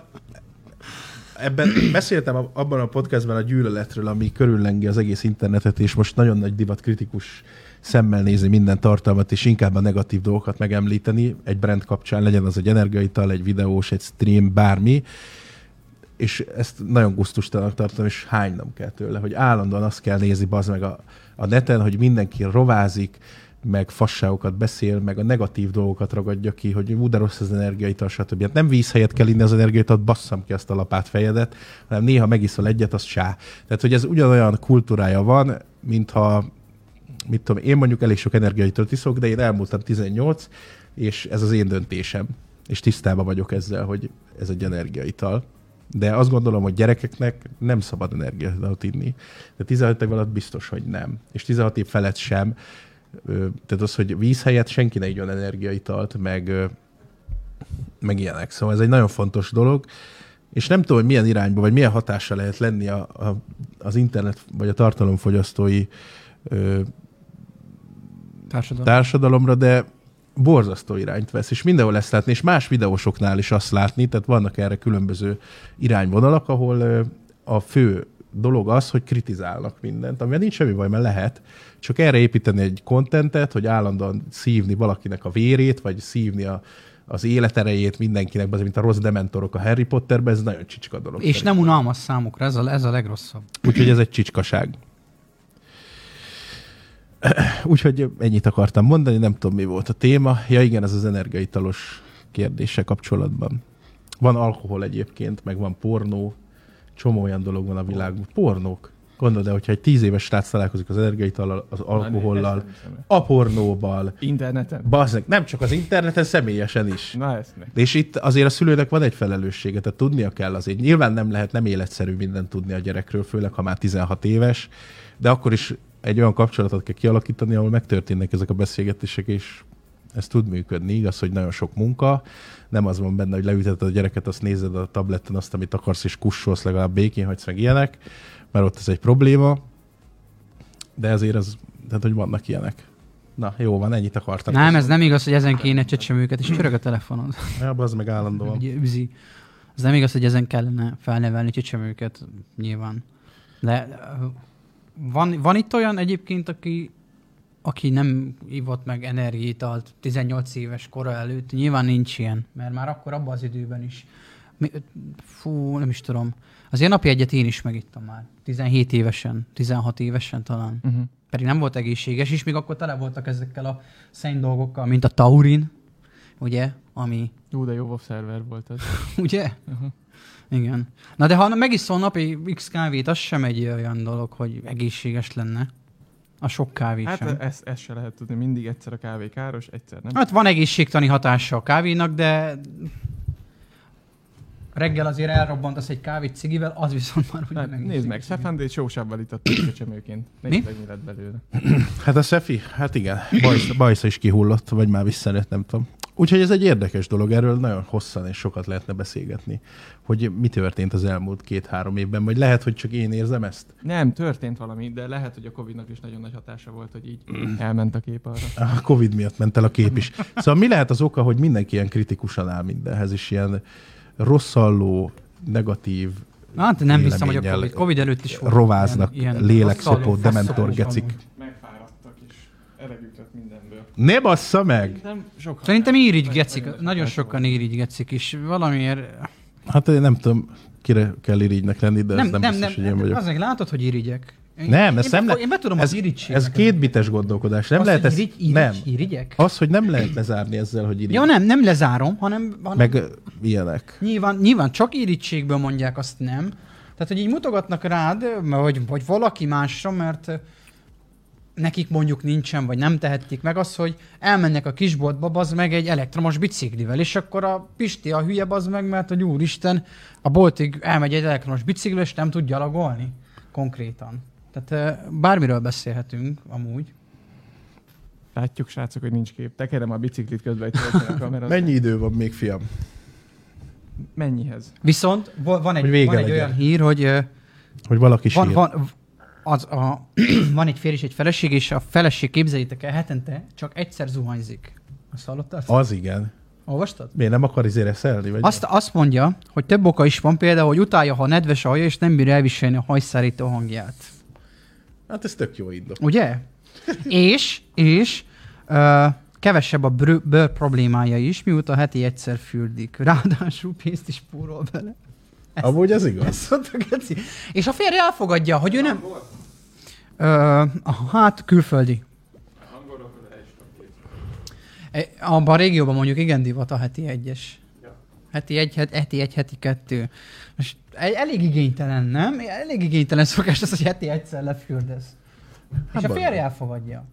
ebben beszéltem a- abban a podcastben a gyűlöletről, ami körüllengi az egész internetet, és most nagyon nagy divat kritikus szemmel nézni minden tartalmat, és inkább a negatív dolgokat megemlíteni egy brand kapcsán, legyen az egy energiaital, egy videós, egy stream, bármi és ezt nagyon gusztustalan tartom, és hánynom kell tőle, hogy állandóan azt kell nézni bazd meg a, a neten, hogy mindenki rovázik, meg fasságokat beszél, meg a negatív dolgokat ragadja ki, hogy ú, de rossz az energiaital, stb. Hát nem víz helyett kell inni az energiaital, basszam ki azt a lapát fejedet, hanem néha megiszol egyet, az sá. Tehát, hogy ez ugyanolyan kultúrája van, mintha, mit tudom, én mondjuk elég sok energiaitől iszok, de én elmúltam 18, és ez az én döntésem. És tisztában vagyok ezzel, hogy ez egy energiaital. De azt gondolom, hogy gyerekeknek nem szabad energiát inni. De 16 év alatt biztos, hogy nem. És 16 év felett sem. Ö, Tehát az, hogy víz helyett senki ne igyon energiaitalt, meg, ö, meg ilyenek. Szóval ez egy nagyon fontos dolog. És nem tudom, hogy milyen irányba, vagy milyen hatása lehet lenni a, a, az internet, vagy a tartalomfogyasztói ö, Társadalom. társadalomra, de borzasztó irányt vesz, és mindenhol ezt látni, és más videósoknál is azt látni, tehát vannak erre különböző irányvonalak, ahol ö, a fő dolog az, hogy kritizálnak mindent, amivel nincs semmi baj, mert lehet, csak erre építeni egy kontentet, hogy állandóan szívni valakinek a vérét, vagy szívni a, az életerejét mindenkinek, az, mint a rossz dementorok a Harry Potterben, ez nagyon csicska dolog. És nem unalmas számukra, ez a, ez a legrosszabb. Úgyhogy ez egy csicskaság. Úgyhogy ennyit akartam mondani, nem tudom, mi volt a téma. Ja igen, ez az energiaitalos kérdése kapcsolatban. Van alkohol egyébként, meg van pornó, csomó olyan dolog van a világban. Pornók. Gondolod el, hogyha egy tíz éves srác találkozik az energiaitallal, az alkohollal, a pornóval, Interneten? bazdmeg, nem csak az interneten, személyesen is. Na ezt ne. És itt azért a szülőnek van egy felelőssége, tehát tudnia kell azért. Nyilván nem lehet nem életszerű mindent tudni a gyerekről, főleg ha már 16 éves, de akkor is egy olyan kapcsolatot kell kialakítani, ahol megtörténnek ezek a beszélgetések, és ez tud működni. Igaz, hogy nagyon sok munka, nem az van benne, hogy leüteted a gyereket, azt nézed a tableten azt, amit akarsz, és kussolsz, legalább békén hagysz meg ilyenek, mert ott ez egy probléma, de azért az, tehát hogy vannak ilyenek. Na, jó van, ennyit akartam. Nem, ez nem igaz, hogy ezen kéne csecsem őket, és csörög a telefonod. Ja, az meg állandóan. Ugye, üzi. Ez nem igaz, hogy ezen kellene felnevelni csecsem őket, nyilván. De ö, van, van itt olyan egyébként, aki, aki nem ivott meg energiaitalt 18 éves kora előtt, nyilván nincs ilyen, mert már akkor abban az időben is. Mi- Fú, nem is tudom. Azért napi egyet én is megittam már. 17 évesen, 16 évesen talán. Uh-huh. pedig nem volt egészséges, és még akkor tele voltak ezekkel a szenny dolgokkal, mint a taurin, ugye, ami, Ú, de jó WoW szerver volt az. ugye? Aha. Igen. Na de ha megiszol napi x kávét, az sem egy olyan dolog, hogy egészséges lenne. A sok kávé hát, Hát sem. ezt, ezt se lehet tudni, mindig egyszer a kávé káros, egyszer nem. Hát van egészségtani hatása a kávénak, de reggel azért elrobbantasz egy kávét cigivel, az viszont már úgy Hát, nem nézd meg, egészséges. Szefendét sósábbal ittattuk csecsemőként. Nézd meg, mi lett belőle. Hát a Szefi, hát igen, bajsza, bajsza is kihullott, vagy már visszanőtt, nem tudom. Úgyhogy ez egy érdekes dolog, erről nagyon hosszan és sokat lehetne beszélgetni, hogy mi történt az elmúlt két-három évben, vagy lehet, hogy csak én érzem ezt. Nem, történt valami, de lehet, hogy a Covid-nak is nagyon nagy hatása volt, hogy így elment a kép arra. A Covid miatt ment el a kép is. Szóval mi lehet az oka, hogy mindenki ilyen kritikusan áll mindenhez, és ilyen rosszalló, negatív, Na, Hát nem hiszem, hogy a Véleménnyel COVID, COVID előtt is volt. rováznak, lélekszopó, rosszalló, dementor rosszalló gecik. amúgy. Megfáradtak, és elegük lett mindenből. ne bassza meg! Nem sok Szerintem hatás. írigygecik, nagyon hatás sokan volt. írigygecik, és valamiért... Hát én nem tudom, kire kell irigynek lenni, de nem, ez nem, nem hát biztos, hogy én vagyok. Azért látod, hogy irigyek. Én, Nem, én ezt nem be, lehet- Én be tudom ez- az irigységet. Ez kétbites gondolkodás. Nem Azt, lehet hogy ezt... irigy, irigy, nem. Irigyek? Az, hogy nem lehet lezárni ezzel, hogy irigy. Ja, nem, nem lezárom, hanem, hanem Meg Meg... ö, ilyenek. nyilván, nyilván csak irigységből mondják azt nem. Tehát, hogy így mutogatnak rád, m- vagy, vagy valaki másra, mert ö, nekik mondjuk nincsen, vagy nem tehették meg az, hogy elmennek a kisboltba, az meg egy elektromos biciklivel, és akkor a Pisti a hülye az meg, mert hogy úristen, a boltig elmegy egy elektromos bicikli, és nem tud gyalogolni konkrétan. Tehát ö, bármiről beszélhetünk amúgy. Látjuk, srácok, hogy nincs kép. Tekerem a biciklit közben, hogy töltsen a kamera. Mennyi idő van még, fiam? Mennyihez? Viszont vo- van Hogy egy, vége van egy legyen. olyan hír, hogy ö, Hogy valaki sír. van, van, az a, van egy férj és egy feleség, és a feleség, képzeljétek el, hetente csak egyszer zuhanyzik. Azt hallottad? Az igen. Olvastad? Miért nem akar izére szelni? Vagy Azt, azt mondja, hogy több oka is van, például, hogy utálja, ha nedves a haja, és nem bír elviselni a hajszárító hangját. Hát ez tök jó indok. Ugye? és, és ö, kevesebb a brő, bőr problémája is, mióta heti egyszer fürdik. Ráadásul pénzt is spórol bele. Amúgy ez igaz. Szóval a geci. És a férje elfogadja, hogy ő nem... Ö, a- hát külföldi. E, Abban a régióban mondjuk igen divat a heti egyes. Heti egy, het- heti egy, heti kettő. És e- elég igénytelen, nem? Elég igénytelen szokás az, hogy heti egyszer lefürdesz. Hát És a baromi. férje elfogadja.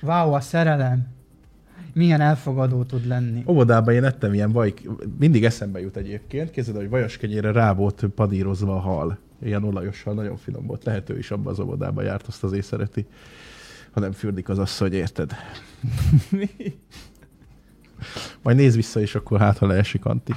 Váó, a szerelem. Milyen elfogadó tud lenni. Óvodában én ettem ilyen vajk, mindig eszembe jut egyébként, képzeld, el, hogy vajaskenyére rá volt padírozva a hal. Ilyen olajossal, nagyon finom volt. Lehető is abban az óvodában járt, azt az szereti. Ha nem fürdik az asszony, érted? Majd nézd vissza, és akkor hát, ha leesik, Anti.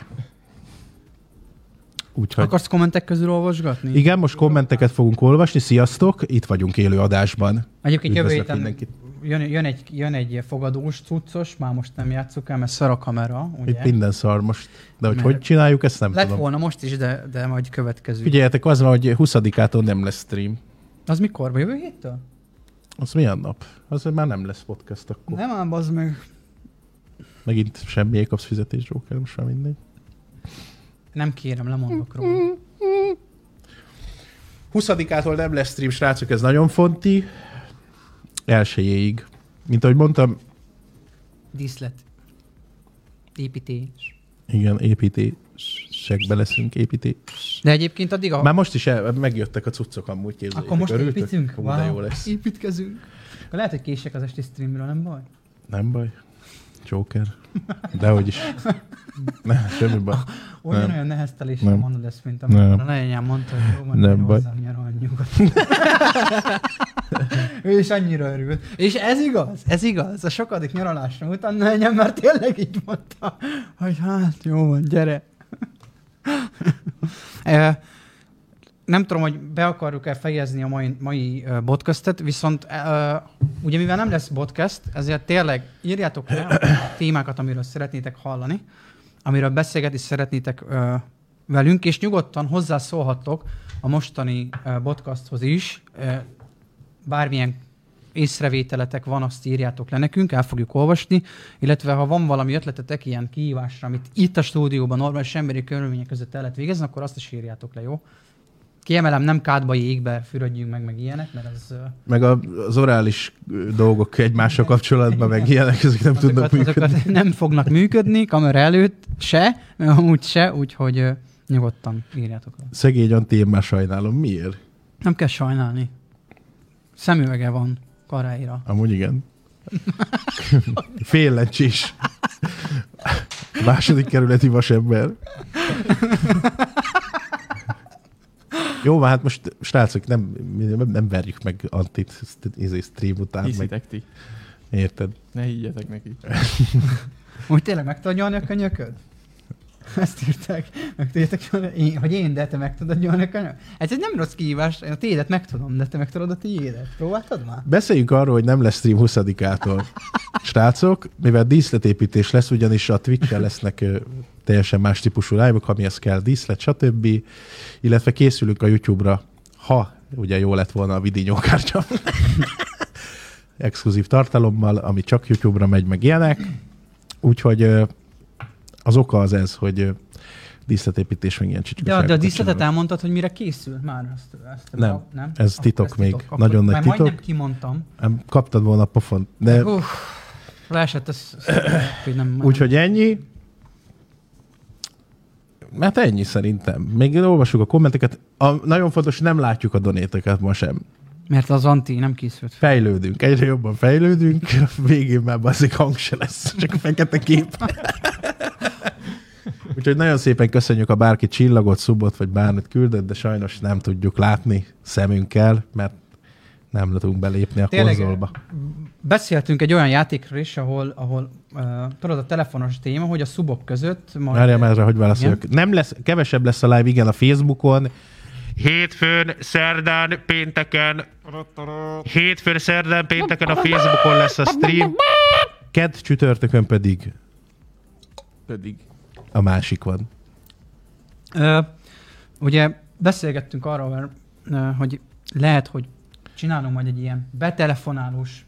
Úgyhogy... Akarsz kommentek közül olvasgatni? Hát- Igen, most kommenteket fogunk olvasni. Sziasztok, itt vagyunk élő adásban. Egyébként jövő Üdvözlök héten mindenkit. jön, jön, egy, jön egy fogadós cuccos, már most nem játsszuk el, mert szar a kamera, ugye? Itt minden szar most. De hogy Mert- hogy csináljuk, ezt nem Lett tudom. volna most is, de, de majd következő. Figyeljetek, az van, hogy 20-ától nem lesz stream. Az mikor? Vagy Jövő héttől? Az milyen nap? Az már nem lesz podcast akkor. Nem. Nem ám, az meg. Megint semmi kapsz fizetés, Joker, most már mindegy. Nem kérem, lemondok róla. 20-ától nem lesz stream, srácok, ez nagyon fonti. Elsőjéig. Mint ahogy mondtam, Díszlet. Építés. igen, építésekbe leszünk, építés. De egyébként addig a... Már most is el, megjöttek a cuccok amúgy, képzeljétek. Akkor most Örültök? építünk? Hú, de jó lesz. Építkezünk. Akkor lehet, hogy kések az esti streamről, nem baj? Nem baj. Joker. Dehogy is. Ne, semmi baj. Olyan Nem. olyan nehezteléssel Nem. mondod ezt, mint Nem. amikor a lányám mondta, hogy jó, Nem nem baj. baj. nyaralni nyugodtan. Ő is annyira örült. És ez igaz, ez igaz. A sokadik nyaralásra után lányám már tényleg így mondta, hogy hát jó van, gyere. Ö, nem tudom, hogy be akarjuk-e fejezni a mai, mai ö, podcastet, viszont ö, ugye mivel nem lesz podcast, ezért tényleg írjátok le a témákat, amiről szeretnétek hallani, amiről beszélgetni szeretnétek ö, velünk, és nyugodtan hozzászólhattok a mostani ö, podcasthoz is. Ö, bármilyen észrevételetek van, azt írjátok le nekünk, el fogjuk olvasni, illetve ha van valami ötletetek ilyen kihívásra, amit itt a stúdióban normális emberi körülmények között el lehet végezni, akkor azt is írjátok le, jó? Kiemelem, nem kádba, jégbe fürödjünk meg, meg ilyenek, mert az, ö, Meg a- az orális ö, dolgok egymással kapcsolatban, meg ilyenek, ezek nem tudnak azokat, működni. azokat nem fognak működni, kamera előtt se, amúgy se, úgyhogy ö, nyugodtan írjátok le. Szegény Anti, én már sajnálom. Miért? Nem kell sajnálni. Szemüvege van karáira. Amúgy igen. Féllencsés. Második kerületi vasember. Jó, már hát most, srácok, nem, nem, nem verjük meg Antit ezt- izé, stream után. Meg, Hiszitek ti. érted? Ne higgyetek neki. Úgy tényleg meg tudod nyalni a könyököd? Ezt írták, meg tudjátok, nyalni- én, hogy én, de te meg tudod nyalni a könyököd? Ez egy nem rossz kihívás, én a tiédet meg tudom, de te meg tudod a tiédet. Próbáltad már? Beszéljünk arról, hogy nem lesz stream 20-ától. Srácok, mivel díszletépítés lesz, ugyanis a Twitch-en lesznek ö, teljesen más típusú live ha mi ez kell, díszlet, stb. Illetve készülünk a YouTube-ra, ha ugye jó lett volna a vidinyókártya. Exkluzív tartalommal, ami csak YouTube-ra megy, meg ilyenek. Úgyhogy ö, az oka az ez, hogy ö, díszletépítés még ilyen De, de a csicskaságokat díszletet csinálunk. elmondtad, hogy mire készül már azt. ezt Nem. nem? Ez Akkor titok még. Akkor- Nagyon nagy már titok. Majdnem kimondtam. Nem, Kaptad volna a pofont. De Uff, leesett az, hogy nem... Úgyhogy ennyi. Hát ennyi szerintem. Még olvassuk a kommenteket. A, nagyon fontos, nem látjuk a donéteket ma sem. Mert az anti nem készült. fel. Fejlődünk, egyre jobban fejlődünk, a végén már baszik hang se lesz, csak fekete kép. Úgyhogy nagyon szépen köszönjük, a bárki csillagot, szubot vagy bármit küldött, de sajnos nem tudjuk látni szemünkkel, mert nem tudunk belépni a Tényleg, konzolba. Beszéltünk egy olyan játékról is, ahol, ahol uh, tudod, a telefonos téma, hogy a szubok között... Majd... Várjál már erre, hogy válaszoljak. Nem lesz, kevesebb lesz a live, igen, a Facebookon, Hétfőn, szerdán, pénteken, hétfőn, szerdán, pénteken a Facebookon lesz a stream. Kedd csütörtökön pedig Pedig. a másik van. Ö, ugye beszélgettünk arról, mert, ö, hogy lehet, hogy csinálom majd egy ilyen betelefonálós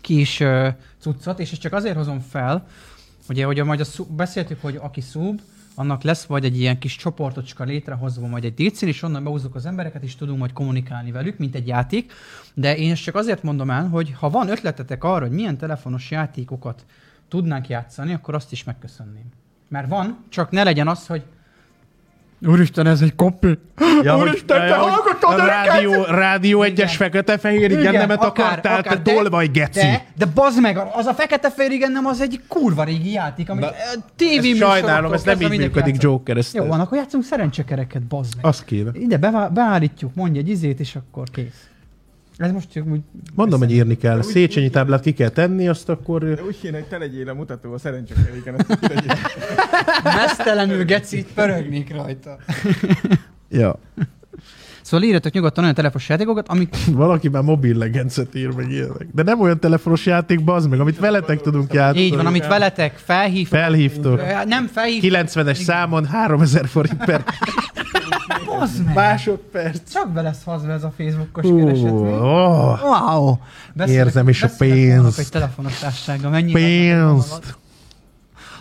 kis ö, cuccot, és ezt csak azért hozom fel, ugye, hogy a- majd a szub, beszéltük, hogy aki szub, annak lesz vagy egy ilyen kis csoportocska létrehozva, majd egy DC-n, és onnan behúzzuk az embereket, és tudunk majd kommunikálni velük, mint egy játék. De én ezt csak azért mondom el, hogy ha van ötletetek arra, hogy milyen telefonos játékokat tudnánk játszani, akkor azt is megköszönném. Mert van, csak ne legyen az, hogy Úristen, ez egy kopi. Ja, Úristen, te hallgatod a őket? rádió, rádió egyes fekete-fehér igen, nemet akartál, te de- dolvaj geci. De, de bazd meg, az a fekete fér nem az egy kurva régi játék, amit Na, tévé ezt sajnálom, ez nem így működik, Joker, ezt- Jó, van, akkor játszunk szerencsekereket, bazd meg. Azt kéne. Ide bevá- beállítjuk, mondja egy izét, és akkor kész. Ez most csak úgy... Mondom, hogy írni kell. Széchenyi táblát ki kell tenni, azt akkor... De Úgy kéne, hogy te legyél a mutató, a szerencsekeréken. azt így tegyél. Mesztelenül gecit pörögnék rajta. Ja. Szóval írjatok nyugodtan olyan telefos játékokat, amik... Valaki már mobil legencet ír meg ilyenek. De nem olyan telefonos játék, bazd meg, amit veletek tudunk játszani. Így van, amit veletek felhívtok. Felhívtok. Ö, Nem felhívtok. 90-es számon 3000 forint per Bazd meg. másodperc. Csak be lesz hazve ez a Facebookos Ó, kereset. mi? ó, Wow! Érzem is a beszélek pénzt. holnap Egy telefonos társága, mennyi Pénzt.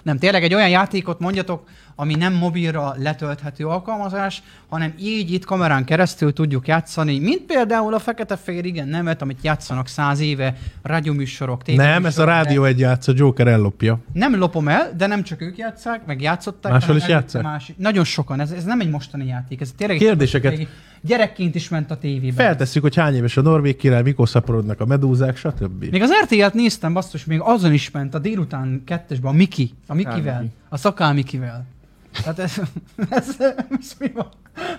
Nem, tényleg egy olyan játékot mondjatok, ami nem mobilra letölthető alkalmazás, hanem így itt kamerán keresztül tudjuk játszani, mint például a Fekete Fér, igen, nemet, amit játszanak száz éve, rádióműsorok, Nem, ez a tévéműsorok, rádió egy játsza, Joker ellopja. de Nem lopom el, de nem csak ők játszák, meg játszották. Máshol hanem is előtte játsszák? Másik. Nagyon sokan, ez, ez nem egy mostani játék, ez tényleg egy Kérdéseket- régi- Gyerekként is ment a tévében. Feltesszük, hogy hány éves a norvég király, mikor szaporodnak a medúzák, stb. Még az RTL-t néztem, basszus, még azon is ment a délután kettesben a Miki, a Mikivel, Miki. a szakál Mikivel. Tehát ez, ez, ez mi van?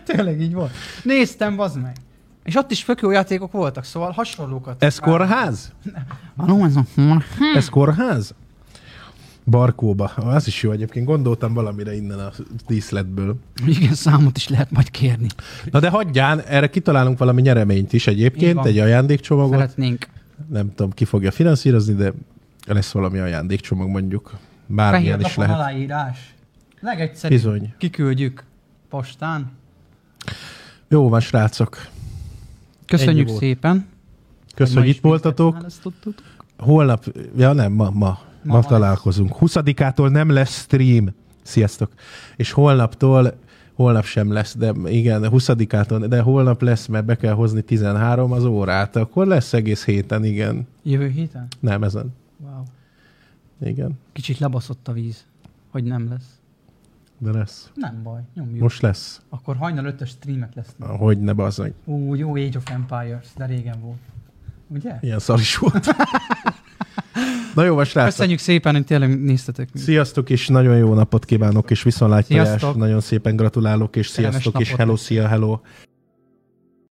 Tényleg így volt. Néztem, bazd meg. És ott is tök jó játékok voltak, szóval hasonlókat. Ez kórház? Ah, no, ez a... Hm. Ez kórház? Barkóba. Ah, Az is jó egyébként. Gondoltam valamire innen a díszletből. Igen, számot is lehet majd kérni. Na de hagyján, erre kitalálunk valami nyereményt is Így egyébként, van. egy ajándékcsomagot. Szeretnénk. Nem tudom, ki fogja finanszírozni, de lesz valami ajándékcsomag mondjuk. Fehér Bármilyen is lapon lehet. aláírás. Legegyszerűbb. Bizony. Kiküldjük postán. Jó van, srácok. Köszönjük volt. szépen. Köszönöm, hogy Ma itt voltatok. ismételten Holnap, ja nem, ma, ma, ma, Ma ma lesz. találkozunk. 20-ától nem lesz stream. Sziasztok. És holnaptól, holnap sem lesz, de igen, 20-ától, de holnap lesz, mert be kell hozni 13 az órát, akkor lesz egész héten, igen. Jövő héten? Nem ezen. Wow. Igen, Kicsit lebaszott a víz, hogy nem lesz. de lesz. Nem baj, nyomjuk. Most. Most lesz. Akkor hajnal ötös streamek lesznek. Hogy ne bazzag. Ú, jó Age of Empires, de régen volt. Ugye? Ilyen szar is volt. Na jó, van, srácok. Köszönjük szépen, hogy tényleg néztetek minket. Sziasztok, és nagyon jó napot kívánok, és viszontlátjást. Sziasztok. Nagyon szépen gratulálok, és Kellemes sziasztok, és napot hello, szia, hello.